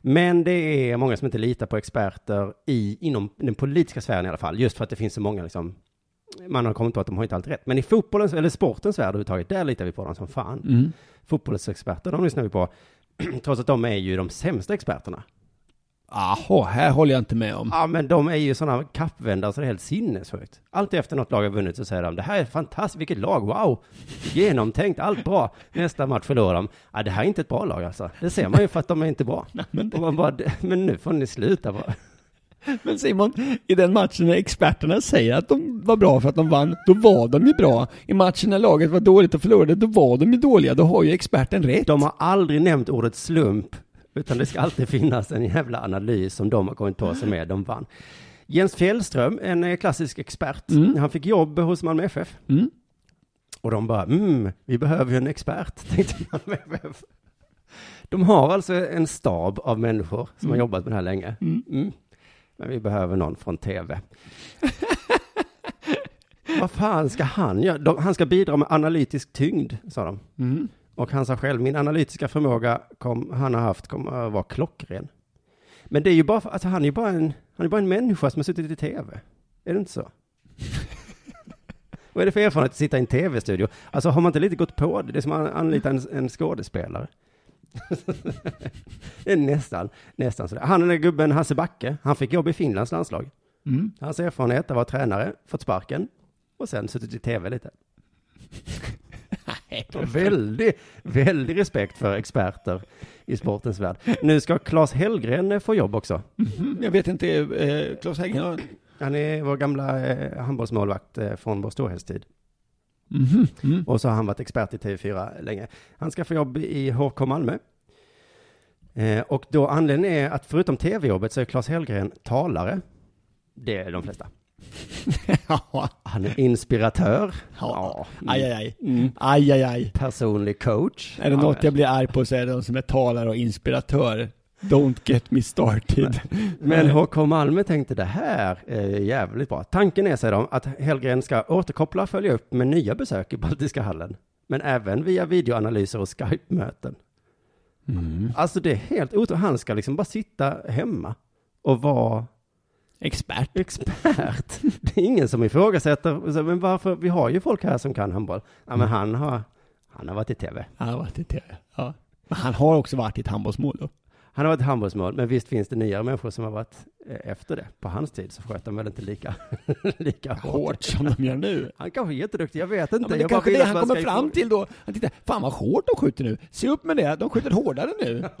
S3: Men det är många som inte litar på experter i, inom den politiska sfären i alla fall, just för att det finns så många liksom, man har kommit på att de har inte alltid rätt. Men i fotbollens, eller sportens värld överhuvudtaget, där litar vi på dem som fan.
S2: Mm.
S3: Fotbollsexperter, de lyssnar vi på, <clears throat> trots att de är ju de sämsta experterna.
S2: Aha, här håller jag inte med om.
S3: Ja, men de är ju sådana kappvändare så det är helt sinnessjukt. Alltid efter något lag har vunnit så säger de, det här är fantastiskt, vilket lag, wow, genomtänkt, allt bra. Nästa match förlorar de. Ja, det här är inte ett bra lag alltså. Det ser man ju för att de är inte
S2: <laughs>
S3: bra.
S2: men det-
S3: Och man bara, "Det- men nu får ni sluta bara.
S2: Men Simon, i den matchen när experterna säger att de var bra för att de vann, då var de ju bra. I matchen när laget var dåligt och förlorade, då var de ju dåliga. Då har ju experten rätt.
S3: De har aldrig nämnt ordet slump, utan det ska alltid finnas en jävla analys som de har kommit på som är de vann. Jens Fjällström, en eh, klassisk expert, han fick jobb hos Malmö FF.
S2: Mm.
S3: Och de bara, mm, vi behöver ju en expert, <laughs> tänkte Malmö FF. De har alltså en stab av människor som har jobbat med det här länge. Mm. Men vi behöver någon från tv. Vad fan ska han göra? De, han ska bidra med analytisk tyngd, sa de.
S2: Mm.
S3: Och han sa själv, min analytiska förmåga kom, han har haft kommer att vara klockren. Men det är ju bara, för- alltså han är ju bara en, han är bara en människa som har suttit i tv. Är det inte så? Vad är det för erfarenhet att sitta i en tv-studio? Alltså har man inte lite gått på det? Det är som att anlita en, en skådespelare. <laughs> det är nästan, nästan sådär. Han den där gubben Hasse Backe, han fick jobb i Finlands landslag.
S2: Mm.
S3: Hans erfarenhet av att vara tränare, fått sparken och sen suttit i tv lite. Väldig, väldig respekt för experter i sportens värld. Nu ska Claes Hellgren eh, få jobb också.
S2: Mm, Jag vet inte, eh, Claes Häggen har...
S3: Han är vår gamla eh, handbollsmålvakt eh, från vår storhetstid.
S2: Mhm, mm.
S3: Och så har han varit expert i TV4 länge. Han ska få jobb i HK Malmö. Eh, och då anledningen är att förutom TV-jobbet så är Claes Hellgren talare. Det är de flesta.
S2: ja,
S3: Han är inspiratör.
S2: ja.
S3: Ja.
S2: Aj, aj, aj.
S3: Mm.
S2: Aj, aj, aj.
S3: Personlig coach.
S2: Är det
S3: Ja,
S2: något jag blir arg på så är det de som är talare och inspiratör. Don't get me started.
S3: Men HK Malmö tänkte det här är jävligt bra. Tanken är, säger de, att Hellgren ska återkoppla och följa upp med nya besök i Baltiska hallen. Men även via videoanalyser och Skype-möten. Alltså det är helt otroligt. Han ska liksom bara sitta hemma och vara
S2: <laughs> Expert.
S3: expert. <laughs> Det är ingen som ifrågasätter. Och så, Men varför? Vi har ju folk här som kan handboll. Ja, men han har, han har varit i tv.
S2: Han har varit i tv. Ja. Men han har också varit i ett handbollsmål då.
S3: Han har varit handbollsmål, men visst finns det nyare människor som har varit eh, efter det. På hans tid så sköt de väl inte lika, <laughs> lika hårt.
S2: Hårt som de gör nu.
S3: Han kanske är jätteduktig, jag vet inte.
S2: Ja, men det
S3: jag
S2: är kanske
S3: vill
S2: det
S3: att
S2: han
S3: man
S2: kommer
S3: ska
S2: fram
S3: ifråga-
S2: till då. Han tittar, fan vad hårt de skjuter nu. Se upp med det, de skjuter hårdare <laughs> nu.
S3: <laughs>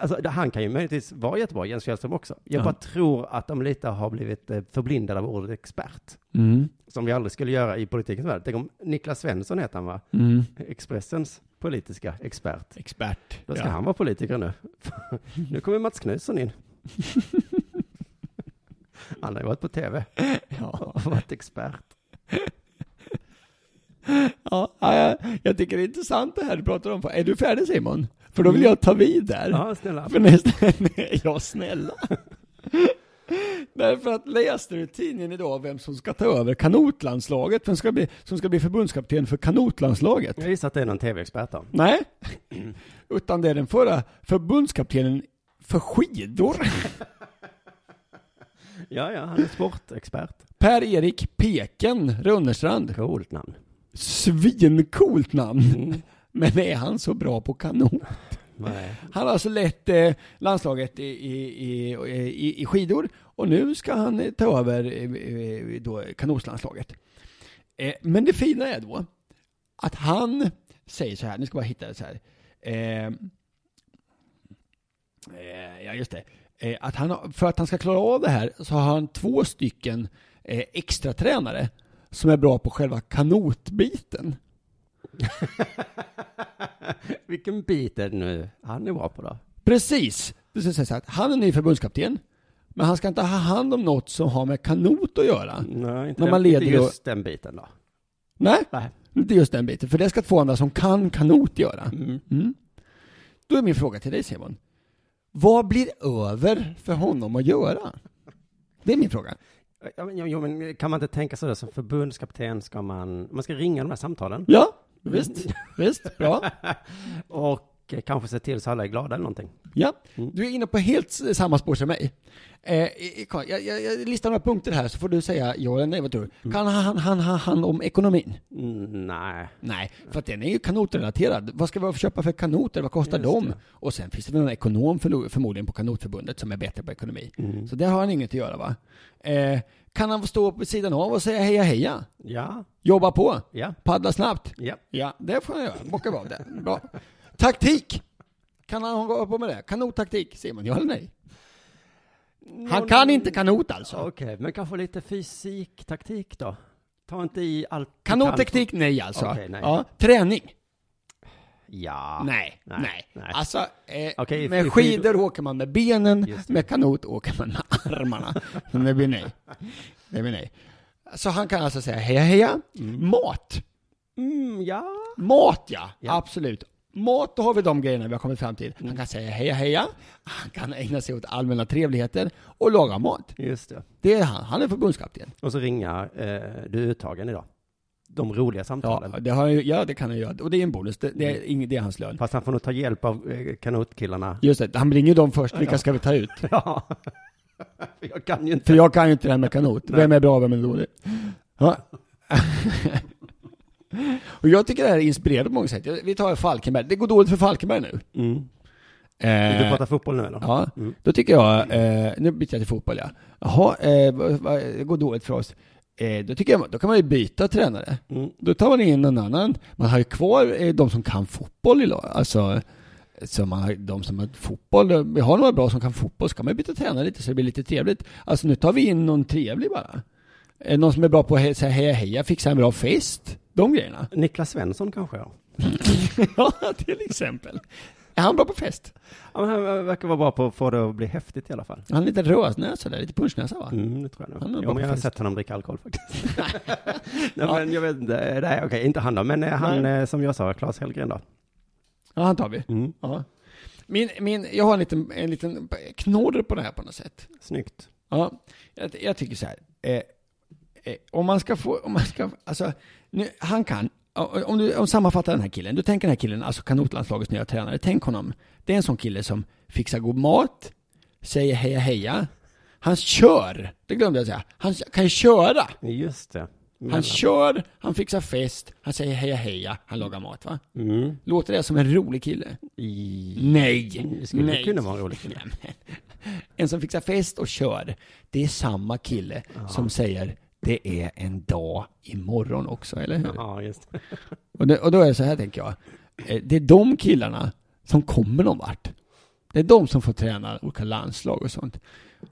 S3: Alltså, det- han kan ju möjligtvis vara jättebra, Jens Fjällström också. Jag
S2: Ja.
S3: bara tror att de lite har blivit eh, förblindade av ordet expert.
S2: Mm,
S3: Som vi aldrig skulle göra i politikens värld. Tänk om Niklas Svensson heter han va?
S2: mm.
S3: Expressens politiska expert.
S2: Expert.
S3: Då ska
S2: Ja.
S3: han vara politiker nu. <laughs> nu kommer Mats Knutsson
S2: <laughs>
S3: in. han har ju varit på tv.
S2: Ja.
S3: och varit expert.
S2: Ja, ja, jag tycker det är intressant det här du pratar om. Är du färdig Simon? För då vill jag ta vid där.
S3: Ja, snälla.
S2: För nästa, Nej, <laughs> ja snälla. Därför att läste du i tidningen idag vem som ska ta över kanotlandslaget, vem ska bli, som ska bli förbundskapten för kanotlandslaget?
S3: Jag gissar att det är någon tv-expert då.
S2: Nej, <clears throat> utan det är den förra förbundskaptenen för skidor,
S3: Ja, ja, han är sportexpert.
S2: Per-Erik Peken Rönnerstrand.
S3: Coolt namn.
S2: Svincoolt namn. <laughs> Men är han så bra på kanot?
S3: Nej.
S2: Han har alltså lett eh, landslaget i, i, i, i, i skidor och nu ska han eh, ta över eh, eh, då kanotlandslaget. Eh, men det fina är då att han säger så här, nu ska jag bara hitta det så här. Eh, eh, ja, just det. Eh, att han, har- för att han ska klara av det här så har han två stycken eh, extra tränare som är bra på själva kanotbiten.
S3: Vilken bit är det nu han är bra på då?
S2: Precis. Det ska sägas att han är ny förbundskapten, men han ska inte ha hand om något som har med kanot att göra.
S3: Nej, inte,
S2: Men man
S3: den,
S2: leder
S3: inte
S2: ju-
S3: just den biten då.
S2: Nej,
S3: Nej.
S2: inte just den biten, för det ska två andra som kan kanot göra.
S3: Mm.
S2: Mm. Då är min fråga till dig Simon. Vad blir över för honom att göra? Det är min fråga.
S3: Ja, men, jo, jo, men kan man inte tänka sådär som förbundskapten ska man, man ska ringa de här samtalen
S2: Ja, visst, visst, bra.
S3: och eh, kanske se till så alla är glada eller någonting.
S2: Ja, du är inne på helt s- samma spår som mig. Eh, i- i- Karl, jag, jag, jag listar några punkter här så får du säga ja eller nej vad tror du? Kan han, han, han, han om ekonomin?
S3: Mm, nej.
S2: Nej, för att den är ju kanotrelaterad. Vad ska vi köpa för kanoter? Vad kostar de? Och sen finns det väl någon ekonom förlo- förmodligen på kanotförbundet som är bättre på ekonomi. Så där har han inget att göra va? Eh, kan han få stå på sidan av och säga heja heja?
S3: Ja.
S2: Jobba på?
S3: Ja.
S2: Paddla snabbt?
S3: Ja.
S2: Ja, det får han göra. Bocka av det. Bra. Taktik! Kan han gå på med det? Kanottaktik? Säger man ja eller nej? Han kan inte kanot alltså.
S3: Okej, men kanske lite fysiktaktik då? Ta inte i allt du kan.
S2: Kanotteknik, nej alltså.
S3: Okej, nej.
S2: Ja, träning?
S3: Ja.
S2: Nej,
S3: Nej,
S2: nej.
S3: nej.
S2: Alltså, eh,
S3: Okej, i- i
S2: med skidor
S3: skid-
S2: åker man med benen,
S3: Just det.
S2: med kanot åker man med armarna. Så det blir nej. Det blir nej. Så han kan alltså säga heja heja. Mat.
S3: Mm, ja.
S2: Mat ja, Mm.
S3: Ja.
S2: absolut. Mat, då har vi de grejerna vi har kommit fram till. Han kan säga heja heja, han kan ägna sig åt allmänna trevligheter och laga mat.
S3: Just det.
S2: Det är han, han är förbundskapten.
S3: Och så ringa eh, du är uttagen idag. De roliga samtalen.
S2: Ja, det, har, han Mm. ju- ja, det kan han göra. Och det är en bonus, det, det, är, ing- det är hans lön.
S3: Fast han får nog ta hjälp av eh, kanotkillarna.
S2: Just det, han ringer dem först, vilka ska vi ta ut?
S3: <laughs> Ja. För jag kan ju inte.
S2: För jag kan ju inte det här med kanot. Vem är bra, vem är dålig? <laughs> Ja. och jag tycker det här är inspirerande på många sätt. Jag- Vi tar Falkenberg, det går dåligt för Falkenberg nu.
S3: Mm. Du
S2: Eh,
S3: pratar fotboll nu eller?
S2: Ja, då tycker jag, eh, nu byter jag till fotboll ja. Jaha, eh, vad- vad- det går dåligt för oss. Eh, då, tycker jag, då kan man ju byta tränare.
S3: Mm.
S2: Då tar man in någon annan. Man har ju kvar eh, de som kan fotboll i lag. Alltså, så man har, de som har fotboll, vi har några bra som kan fotboll, så kan man ju byta tränare lite så det blir lite trevligt. Alltså nu tar vi in någon trevlig bara. Eh, någon som är bra på att he- säga heja heja, fixa en bra fest. De grejerna.
S3: Niklas Svensson kanske? Ja.
S2: <laughs> ja, till exempel. Är han bra på fest?
S3: Ja, men han verkar vara bra på att få det att bli häftigt i alla fall.
S2: Han är lite rödnäsa där, lite punschnäsa va?
S3: Mm, det tror jag
S2: Han är
S3: nog.
S2: bra
S3: Ja, men jag har
S2: på
S3: sett honom dricka alkohol
S2: <laughs>
S3: faktiskt. nej, men jag vet inte. Nej, okej, inte han då. Men eh, han,
S2: Nej.
S3: eh, som jag sa, Claes Hellgren då.
S2: Ja, han tar vi. Ja. Min, min, jag har en liten, en liten knorr på det här på något sätt.
S3: Snyggt.
S2: Ja, jag, jag tycker så här. Eh, eh, om man ska få, om man ska, alltså, nu, han kan, om du om sammanfattar den här killen, du tänker den här killen, alltså kanotlandslagets nya tränare, tänk honom. Det är en sån kille som fixar god mat, säger heja heja, han kör, det glömde jag säga, han kan ju köra.
S3: Just det.
S2: Han
S3: Mellan-
S2: kör, han fixar fest, han säger heja heja, han lagar mat va?
S3: Mm.
S2: Låter det som en rolig kille?
S3: I...
S2: Nej!
S3: Det skulle
S2: nej.
S3: kunna vara en rolig kille.
S2: <laughs> Nej, men. En som fixar fest och kör, det är samma kille som säger det är en dag imorgon också, eller hur?
S3: Ja, just det.
S2: Och, det, och då är det så här tänker jag, Eh, det är de killarna som kommer någon vart. Det är de som får träna olika landslag och sånt.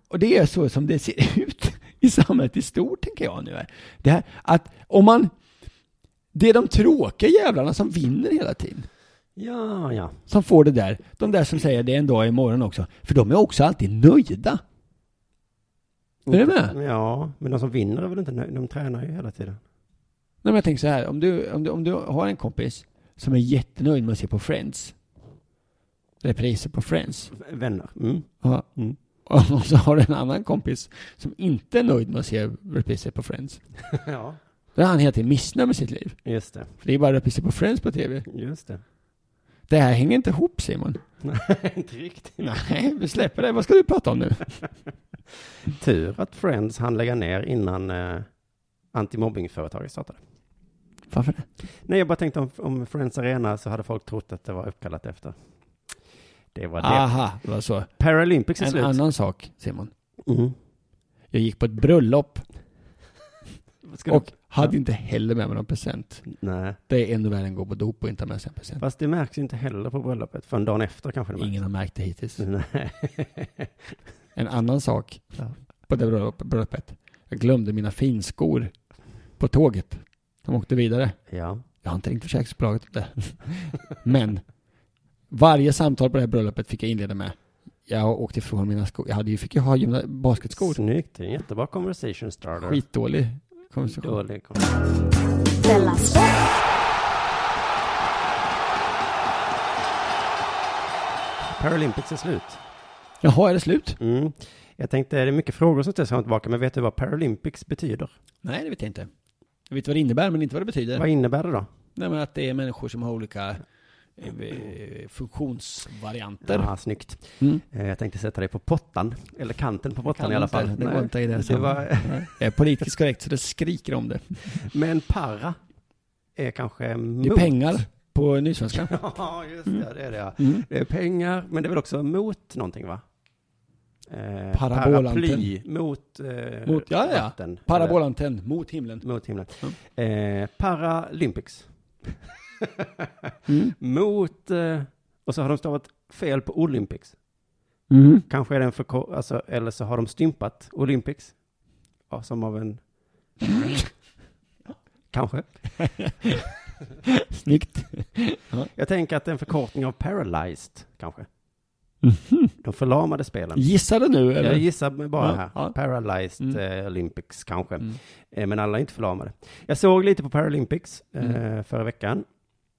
S2: Och det är så som det ser <laughs> ut i samhället i stort, tänker jag nu. här. Det här att om man, det är de tråkiga jävlarna som vinner hela tiden
S3: Ja, ja.
S2: som får det där. De där som säger det är en dag imorgon också. För de är också alltid nöjda. Är du med? Nej
S3: Ja, men de som vinner är väl inte nöjda? De tränar ju hela tiden.
S2: men jag tänker så här, om du, om, du, om du har en kompis som är jättenöjd med att se på Friends. Repriser på Friends.
S3: V- Vänner.
S2: <laughs>
S3: Mm.
S2: Ja.
S3: Mm.
S2: Och <laughs> så har du en annan kompis som inte är nöjd med att se repriser på Friends.
S3: Ja,
S2: Då är han helt missnöjd med sitt liv.
S3: just det.
S2: För det är bara repriser på Friends på TV.
S3: Just det. <laughs>
S2: Det här hänger inte ihop Simon.
S3: inte riktigt.
S2: Nej, <laughs> vi släpper det. Vad ska du prata om nu?
S3: Tur att Friends hann lägga ner innan eh, antimobbingföretaget startade.
S2: Varför det?
S3: Nej, jag bara tänkte om, om Friends Arena så hade folk trott att det var uppkallat efter. Det var det.
S2: Aha, det var så.
S3: Paralympics är
S2: Ah, En
S3: slut.
S2: annan sak Simon.
S3: Mm.
S2: Jag gick på ett bröllop
S3: Ska
S2: och
S3: du...
S2: hade inte heller med mig någon present.
S3: Nej,
S2: Det är ännu värre än att gå på dop och inte ha med sig en present.
S3: fast det märks ju inte heller på bröllopet förrän dagen efter kanske det märks.
S2: Ingen har märkt det Mm. hittills.
S3: Nej. <laughs>
S2: En annan sak på det bröllop- bröllopet. Jag glömde mina finskor på tåget. De åkte vidare.
S3: Ja.
S2: Jag har inte ringt försäkringsbolaget om det. <laughs> Men varje samtal på det här bröllopet fick jag inleda med. Jag har åkt ifrån mina skor. Jag hade ju, fick ju ha gymna- basketskor.
S3: Snyggt, det är en jättebra conversation starter.
S2: Skitdålig konversation.
S3: Dålig kon-
S4: Della Sport.
S3: Paralympics är slut.
S2: Jaha, är det slut?
S3: Mm. Jag tänkte, det är mycket frågor som ställs fram och tillbaka, men vet du vad Paralympics betyder?
S2: Nej, det vet jag inte. Jag vet vad det innebär, men inte vad det betyder.
S3: Vad innebär det då?
S2: Nej men att det är människor som har olika eh, funktionsvarianter.
S3: Ja, snyggt.
S2: Mm.
S3: Eh, Jag tänkte sätta dig på pottan, eller kanten på pottan i alla fall.
S2: Det
S3: Nej.
S2: går inte i det.
S3: det var,
S2: Det är politiskt korrekt så det skriker om det.
S3: men para är kanske
S2: Det är
S3: mot.
S2: pengar på Nysvenskan.
S3: <laughs> Ja, just det, det är det ja.
S2: Mm.
S3: Det är pengar, men det är väl också mot någonting va? Eh,
S2: Parabolantenn.
S3: Paraply mot, eh,
S2: Mot- ja, ja.
S3: vatten.
S2: Parabolantenn mot himlen.
S3: Eller Mot himlen. Eh, Paralympics. <laughs>
S2: Mm.
S3: Mot, eh, och så har de stavat fel på Olympics.
S2: Mm.
S3: Kanske är den för alltså, eller så har de stympat Olympics. Ja, som av en... Mm. Kanske.
S2: <laughs> Snyggt.
S3: Jag tänker att det är en förkortning av paralyzed, kanske. De förlamade spelen.
S2: Gissade Mm. nu eller?
S3: Jag gissar mig bara
S2: Ja,
S3: här.
S2: ja.
S3: Paralyzed
S2: Mm.
S3: eh, Olympics kanske.
S2: Mm.
S3: Eh, men alla är inte förlamade. Jag såg lite på Paralympics eh,
S2: Mm.
S3: förra veckan.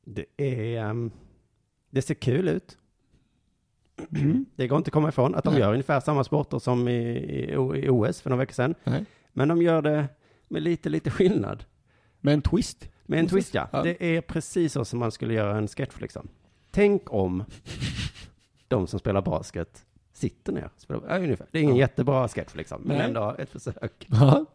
S3: Det är... ehm, det ser kul ut. <clears throat> Det går inte att komma ifrån att de
S2: Mm. Nej.
S3: gör ungefär samma sporter som i, i, O- i OS för några veckor sedan.
S2: Nej.
S3: Men de gör det med lite, lite skillnad.
S2: Med en twist.
S3: Med en
S2: Precis.
S3: twist ja.
S2: Ja.
S3: Det är precis så som man skulle göra en sketch liksom. Tänk om de som spelar basket sitter ner. och Spelar, ja, ungefär. Det är ingen jättebra sketch liksom, men
S2: Nej.
S3: ändå ett försök.
S2: <laughs> Ja.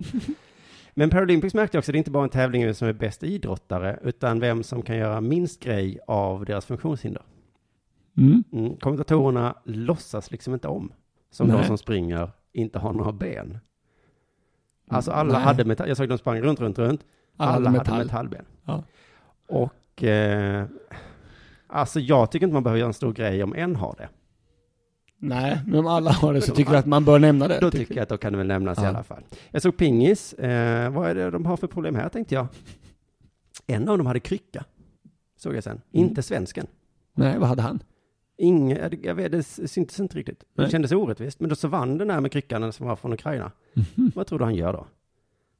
S3: Men Paralympics märkte jag också, det är inte bara en tävling i vem som är bäst idrottare, utan vem som kan göra minst grej av deras funktionshinder.
S2: Mm.
S3: Mm. Kommentatorerna låtsas liksom inte om, som
S2: Nej.
S3: de som springer inte har några ben. Alltså alla
S2: Mm. Nej.
S3: hade metall, jag såg de sprang runt, runt, runt. Alla, hade
S2: metall.
S3: metallben.
S2: Ja.
S3: Och eh, alltså jag tycker inte man behöver göra en stor grej om en har det.
S2: Nej, men om alla har
S3: <laughs>
S2: det så tycker jag att man bör nämna det.
S3: Då tycker jag att då kan det väl nämnas i
S2: Ja.
S3: alla fall. Jag såg pingis, eh, vad är det de har för problem här tänkte jag. En av dem hade krycka, såg jag sen.
S2: Mm.
S3: Inte svensken.
S2: Nej, vad hade han?
S3: Ingen, jag- jag vet, det syntes inte riktigt. Det
S2: Nej.
S3: kändes orättvist. Men då så vann den här med kryckan som var från Ukraina.
S2: Mhm.
S3: Vad tror du han gör då?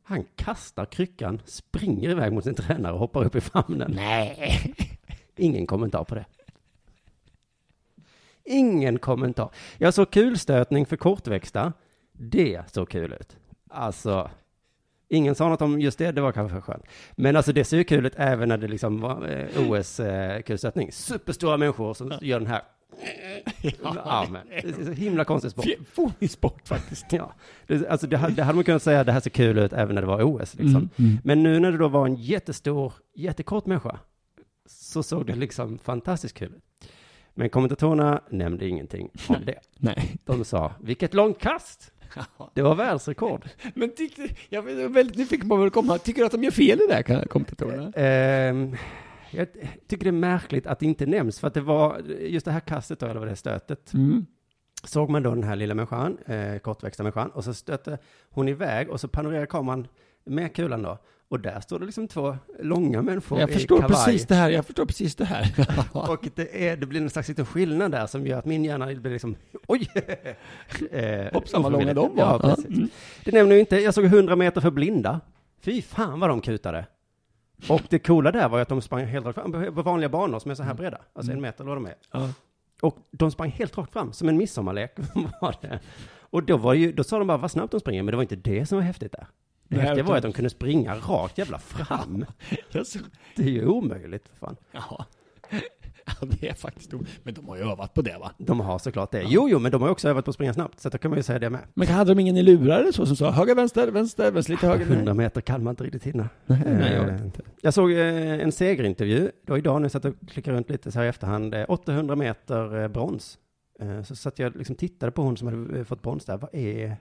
S3: Han kastar kryckan, springer iväg mot sin tränare och hoppar upp i famnen. Nej! Ingen kommentar på det. Ingen kommentar. Jag såg kulstötning för kortväxta. Det såg kul ut. Alltså, ingen sa något om just det, det var kanske skönt. Men alltså det ser ju kul ut även när det liksom var eh, OS-kulstötning. Superstora människor som gör den här. Ja, men, det är så himla konstig
S2: <laughs>
S3: sport.
S2: Fånig sport faktiskt.
S3: Ja, det, alltså det, hade- det hade man kunnat säga, det här ser kul ut även när det var OS. Liksom.
S2: Mm.
S3: Men nu när det då var en jättestor, jättekort människa, så såg det liksom fantastiskt kul ut. Men kommentatorerna nämnde ingenting om det.
S2: <laughs> Nej.
S3: De sa, vilket långt kast! Det var världsrekord.
S2: Men tyckte, jag är väldigt nyfiken på vad det kommer. Tycker du att de gör fel i det här, kompetitorerna?
S3: Ehm, jag tycker det är märkligt att det inte nämns, för att det var just det här kastet då, eller vad det är, stötet,
S2: Mm.
S3: såg man då den här lilla människan, eh, kortväxta människan, och så stötte hon iväg och så panorerar kameran med kulan då. Och där står det liksom två långa människor
S2: Jag
S3: i
S2: förstår
S3: kavaj.
S2: precis det här, jag förstår precis det <laughs> här.
S3: <laughs> Och det, är, det blir en slags liten skillnad där som gör att min hjärna blir liksom, <laughs> oj! eh,
S2: Hoppsan, vad långa
S3: ofrivilligt.
S2: de var.
S3: Ja,
S2: Ja, Mm.
S3: precis. Det nämner vi inte, jag såg 100 meter för blinda. Fy fan vad de kutade. Och det coola där var ju att de sprang helt rakt fram på vanliga banor som är så här breda, alltså en meter eller vad de är.
S2: Mm. Ja.
S3: Och de sprang helt rakt fram, som en midsommarlek <laughs> var det. Och då, var ju, då sa de bara vad snabbt de springer, men det var inte det som var häftigt där. Det
S2: Nej,
S3: häftiga
S2: utan-
S3: var
S2: <laughs>
S3: ju att de kunde springa rakt jävla fram.
S2: Jag så-
S3: Det är ju omöjligt, för fan.
S2: Ja. ja, det är faktiskt o- Men de har ju övat på det va?
S3: De har såklart det. Jo, jo, men de har också övat på att springa snabbt, så att då kan man ju säga det med.
S2: Men hade de ingen i lurar eller så som sa höger, vänster, vänster, vänster, lite
S3: <laughs>
S2: höger?
S3: 100 meter kan man inte riktigt hinna.
S2: nej, jag
S3: Eh,
S2: vet inte.
S3: jag såg eh, en segerintervju, det var idag när jag satt och klickade runt lite så här i efterhand, Eh, 800 meter eh, brons. Eh, Så satt jag liksom tittade på hon som hade eh, fått brons där, vad är,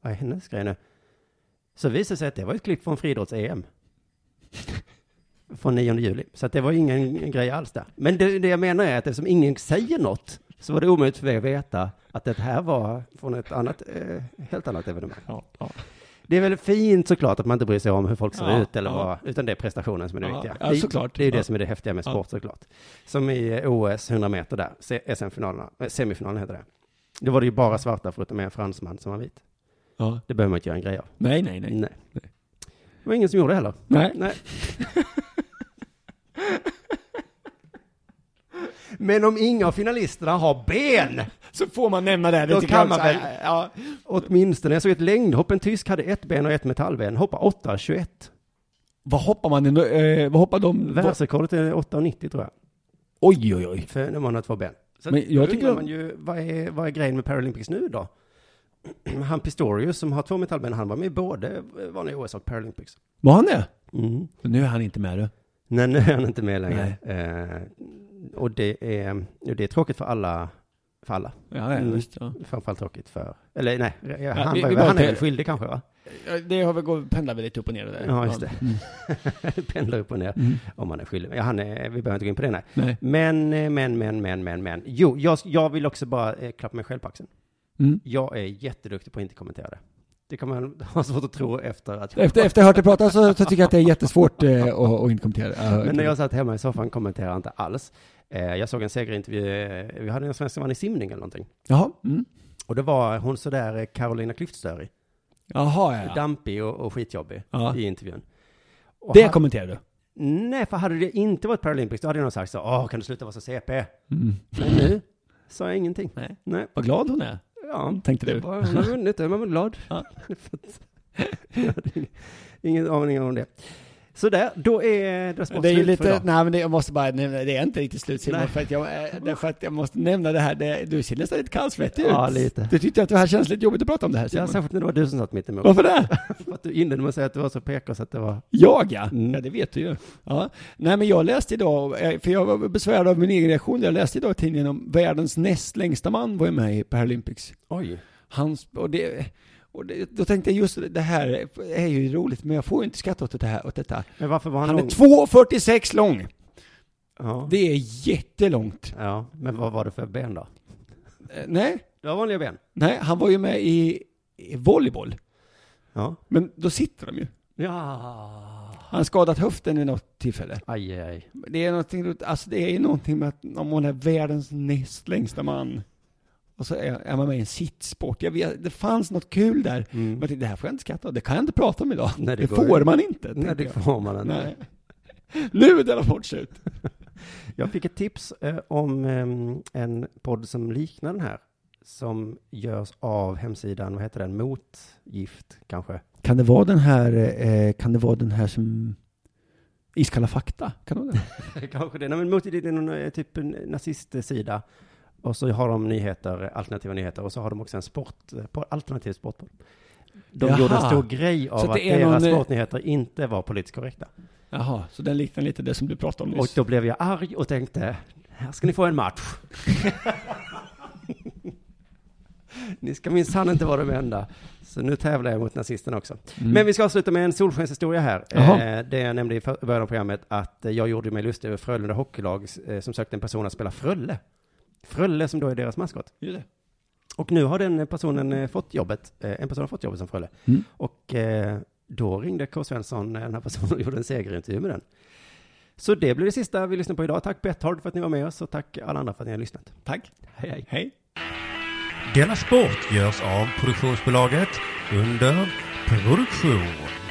S3: vad är hennes grej nu? Så visade det sig att det var ett klipp från friidrotts-EM. Från 9 juli. Så att det var ingen grej alls där. Men det, det jag menar är att eftersom ingen säger något så var det omöjligt för mig att veta att det här var från ett annat, eh, helt annat evenemang.
S2: Ja, ja.
S3: Det är väl fint såklart att man inte bryr sig om hur folk ser
S2: Ja,
S3: ut eller
S2: ja.
S3: vad, utan det är prestationen som är det
S2: Ja,
S3: viktiga.
S2: ja,
S3: Det-
S2: såklart.
S3: Det är ju det
S2: Ja.
S3: som är det häftiga med
S2: Ja.
S3: sport såklart. Som i eh, OS 100 meter där, se- SM-finalerna, eh, semifinalen heter det. Då var det ju bara svarta förutom en fransman som var vit.
S2: Ja.
S3: Det behöver man inte göra en grej av.
S2: Nej, nej, nej.
S3: Nej. Det var ingen som gjorde det heller.
S2: Nej. <laughs>
S3: Nej. Men om inga av finalisterna har ben!
S2: Så får man nämna det,
S3: Då
S2: det tycker
S3: kan
S2: jag
S3: man
S2: också.
S3: väl-
S2: Ja.
S3: Åtminstone, jag såg ett längdhopp, en tysk hade ett ben och ett metallben, hoppade 8,21.
S2: Vad hoppar man? i- eh, Vad hoppar de?
S3: Världsrekordet är 8,90 tror jag.
S2: Oj, oj, oj.
S3: För när man har två ben. Så
S2: Men
S3: att
S2: jag
S3: då
S2: tycker
S3: undrar
S2: att-
S3: man ju, vad är, vad är grejen med Paralympics nu då? <clears throat> Han Pistorius som har två metallben, han var med i både vanliga OS och Paralympics.
S2: Var han det?
S3: Mm.
S2: Nu är han inte med du.
S3: Nej, nu är han inte med längre. Eh, och det är, och det är tråkigt för alla, för alla.
S2: Ja, ja,
S3: Mm.
S2: visst. Ja.
S3: Framförallt tråkigt för, eller nej, han,
S2: vi-
S3: var,
S2: vi bara
S3: han är
S2: till-
S3: väl skyldig kanske va? <laughs>
S2: Ja, Det har väl gått, pendlar väl lite upp och ner det där.
S3: Ja, just det. Pendlar upp och ner
S2: Mm.
S3: om han är skyldig. Ja, han är, vi behöver inte gå in på det nej.
S2: Nej.
S3: Men, eh, men, men, men, men, men. Jo, jag, jag vill också bara eh, klappa mig själv på axeln.
S2: Mm.
S3: Jag är jätteduktig på att inte kommentera det. Det kan man <laughs> ha svårt att tro efter att jag...
S2: Efter, efter att ha hört dig prata så, så tycker jag att det är jättesvårt eh, att, att inte kommentera. Ja,
S3: Men när jag satt hemma i soffan kommenterade jag inte alls. Eh, jag såg en segerintervju, eh, vi hade en svensk som vann i simning eller någonting.
S2: Jaha. Mm.
S3: Och det var hon sådär eh, Carolina Klüft-störig.
S2: Jaha, ja.
S3: Dampig och, och skitjobbig
S2: Ja.
S3: i intervjun. Och
S2: Det
S3: han-
S2: kommenterar du?
S3: Nej, för hade det inte varit Paralympics, då hade någon sagt så, åh, kan du sluta vara så CP? Men
S2: <laughs>
S3: nu sa jag ingenting.
S2: Mm. Nej.
S3: Nej.
S2: Vad glad hon är.
S3: Ja,
S2: Tänkte
S3: det
S2: du.
S3: var, hon har vunnit, då är man väl glad.
S2: Typ. Ja.
S3: <laughs> För att- jag hade ingen- ingen aning om det. Så där, då är det
S2: Det är ju
S3: sportslut för
S2: lite,
S3: idag.
S2: nej men det, jag måste bara nämna, det är inte riktigt slut Simon,
S3: Nej.
S2: för att, jag, eh, därför att jag måste nämna det här, det, du ser nästan lite kallsvettig ut.
S3: Ja, lite.
S2: Du tyckte att det här känns lite jobbigt att prata om det här
S3: Ja,
S2: Simon.
S3: särskilt när det var du som satt mitt emot.
S2: Varför det?
S3: För att du inledde med att säga att du var så PK så att det var...
S2: Jag ja.
S3: Mm.
S2: ja, det vet du ju. Ja. Nej men jag läste idag, eh, för jag var besvärad av min egen reaktion, jag läste idag i tidningen om världens näst längsta man var ju med i Paralympics.
S3: Oj.
S2: Hans, och det, och det, då tänkte jag just det här är ju roligt, men jag får ju inte skratta åt, det här, åt detta.
S3: Men varför var han,
S2: Han är
S3: lång?
S2: 2,46 lång.
S3: Ja.
S2: Det är jättelångt.
S3: ja, men vad var det för ben då?
S2: Eh, Nej,
S3: Det var vanliga ben.
S2: nej, han var ju med i, i volleyboll.
S3: Ja.
S2: Men då sitter de ju.
S3: Ja.
S2: Han har skadat höften vid något tillfälle.
S3: Aj, aj, aj.
S2: Det är någonting, alltså det är någonting med att om man är världens näst längsta man och så är, är man med i en sittsport. Jag vet, det fanns något kul där. Men jag tänkte, det här får jag inte skratta åt. Det kan jag inte prata om idag.
S3: Nej, det
S2: Mm. det
S3: går
S2: får
S3: ju.
S2: man inte.
S3: Mm. Nej,
S2: tänker
S3: det
S2: jag.
S3: får man inte.
S2: Nej. <laughs> Nu är denna bort slut.
S3: Jag fick ett tips eh, om ehm, en podd som liknar den här. Som görs av hemsidan, vad heter den? Motgift kanske?
S2: <laughs> Kan det vara den här, eh, kan det vara den här som Iskalla fakta? Kan det vara det?
S3: kanske det. Nej, men Motgift är någon eh, typ en nazistsida. Och så har de nyheter, eh, alternativa nyheter. Och så har de också en sport, eh, på- alternativ sportpodd. De
S2: Jaha.
S3: gjorde en stor grej av
S2: Så
S3: att
S2: det är
S3: deras
S2: någon, eh,
S3: sportnyheter inte var politiskt korrekta.
S2: <laughs> Jaha, så den liknar lite det som du pratade om
S3: Och
S2: nyss.
S3: då blev jag arg och tänkte, här ska ni få en match. <laughs> ni ska minsann inte vara de enda. Så nu tävlar jag mot nazisterna också.
S2: Mm.
S3: Men vi ska avsluta med en solskenshistoria här.
S2: Jaha.
S3: Eh, det jag nämnde i för- början av programmet, att eh, jag gjorde mig lustig över Frölunda Hockeylag eh, som sökte en person att spela Frölle. Frölle som då är deras maskot. Och nu har den personen eh, fått jobbet, eh, en person har fått jobbet som Frölle.
S2: Mm.
S3: Och eh, då ringde K. Svensson, eh, den här personen, och <laughs> gjorde en segerintervju med den. Så det blir det sista vi lyssnar på idag. Tack Bethard för att ni var med oss och tack alla andra för att ni har lyssnat.
S2: Tack.
S3: Hej, hej.
S2: Hej.
S1: Denna sport görs av produktionsbolaget under produktion.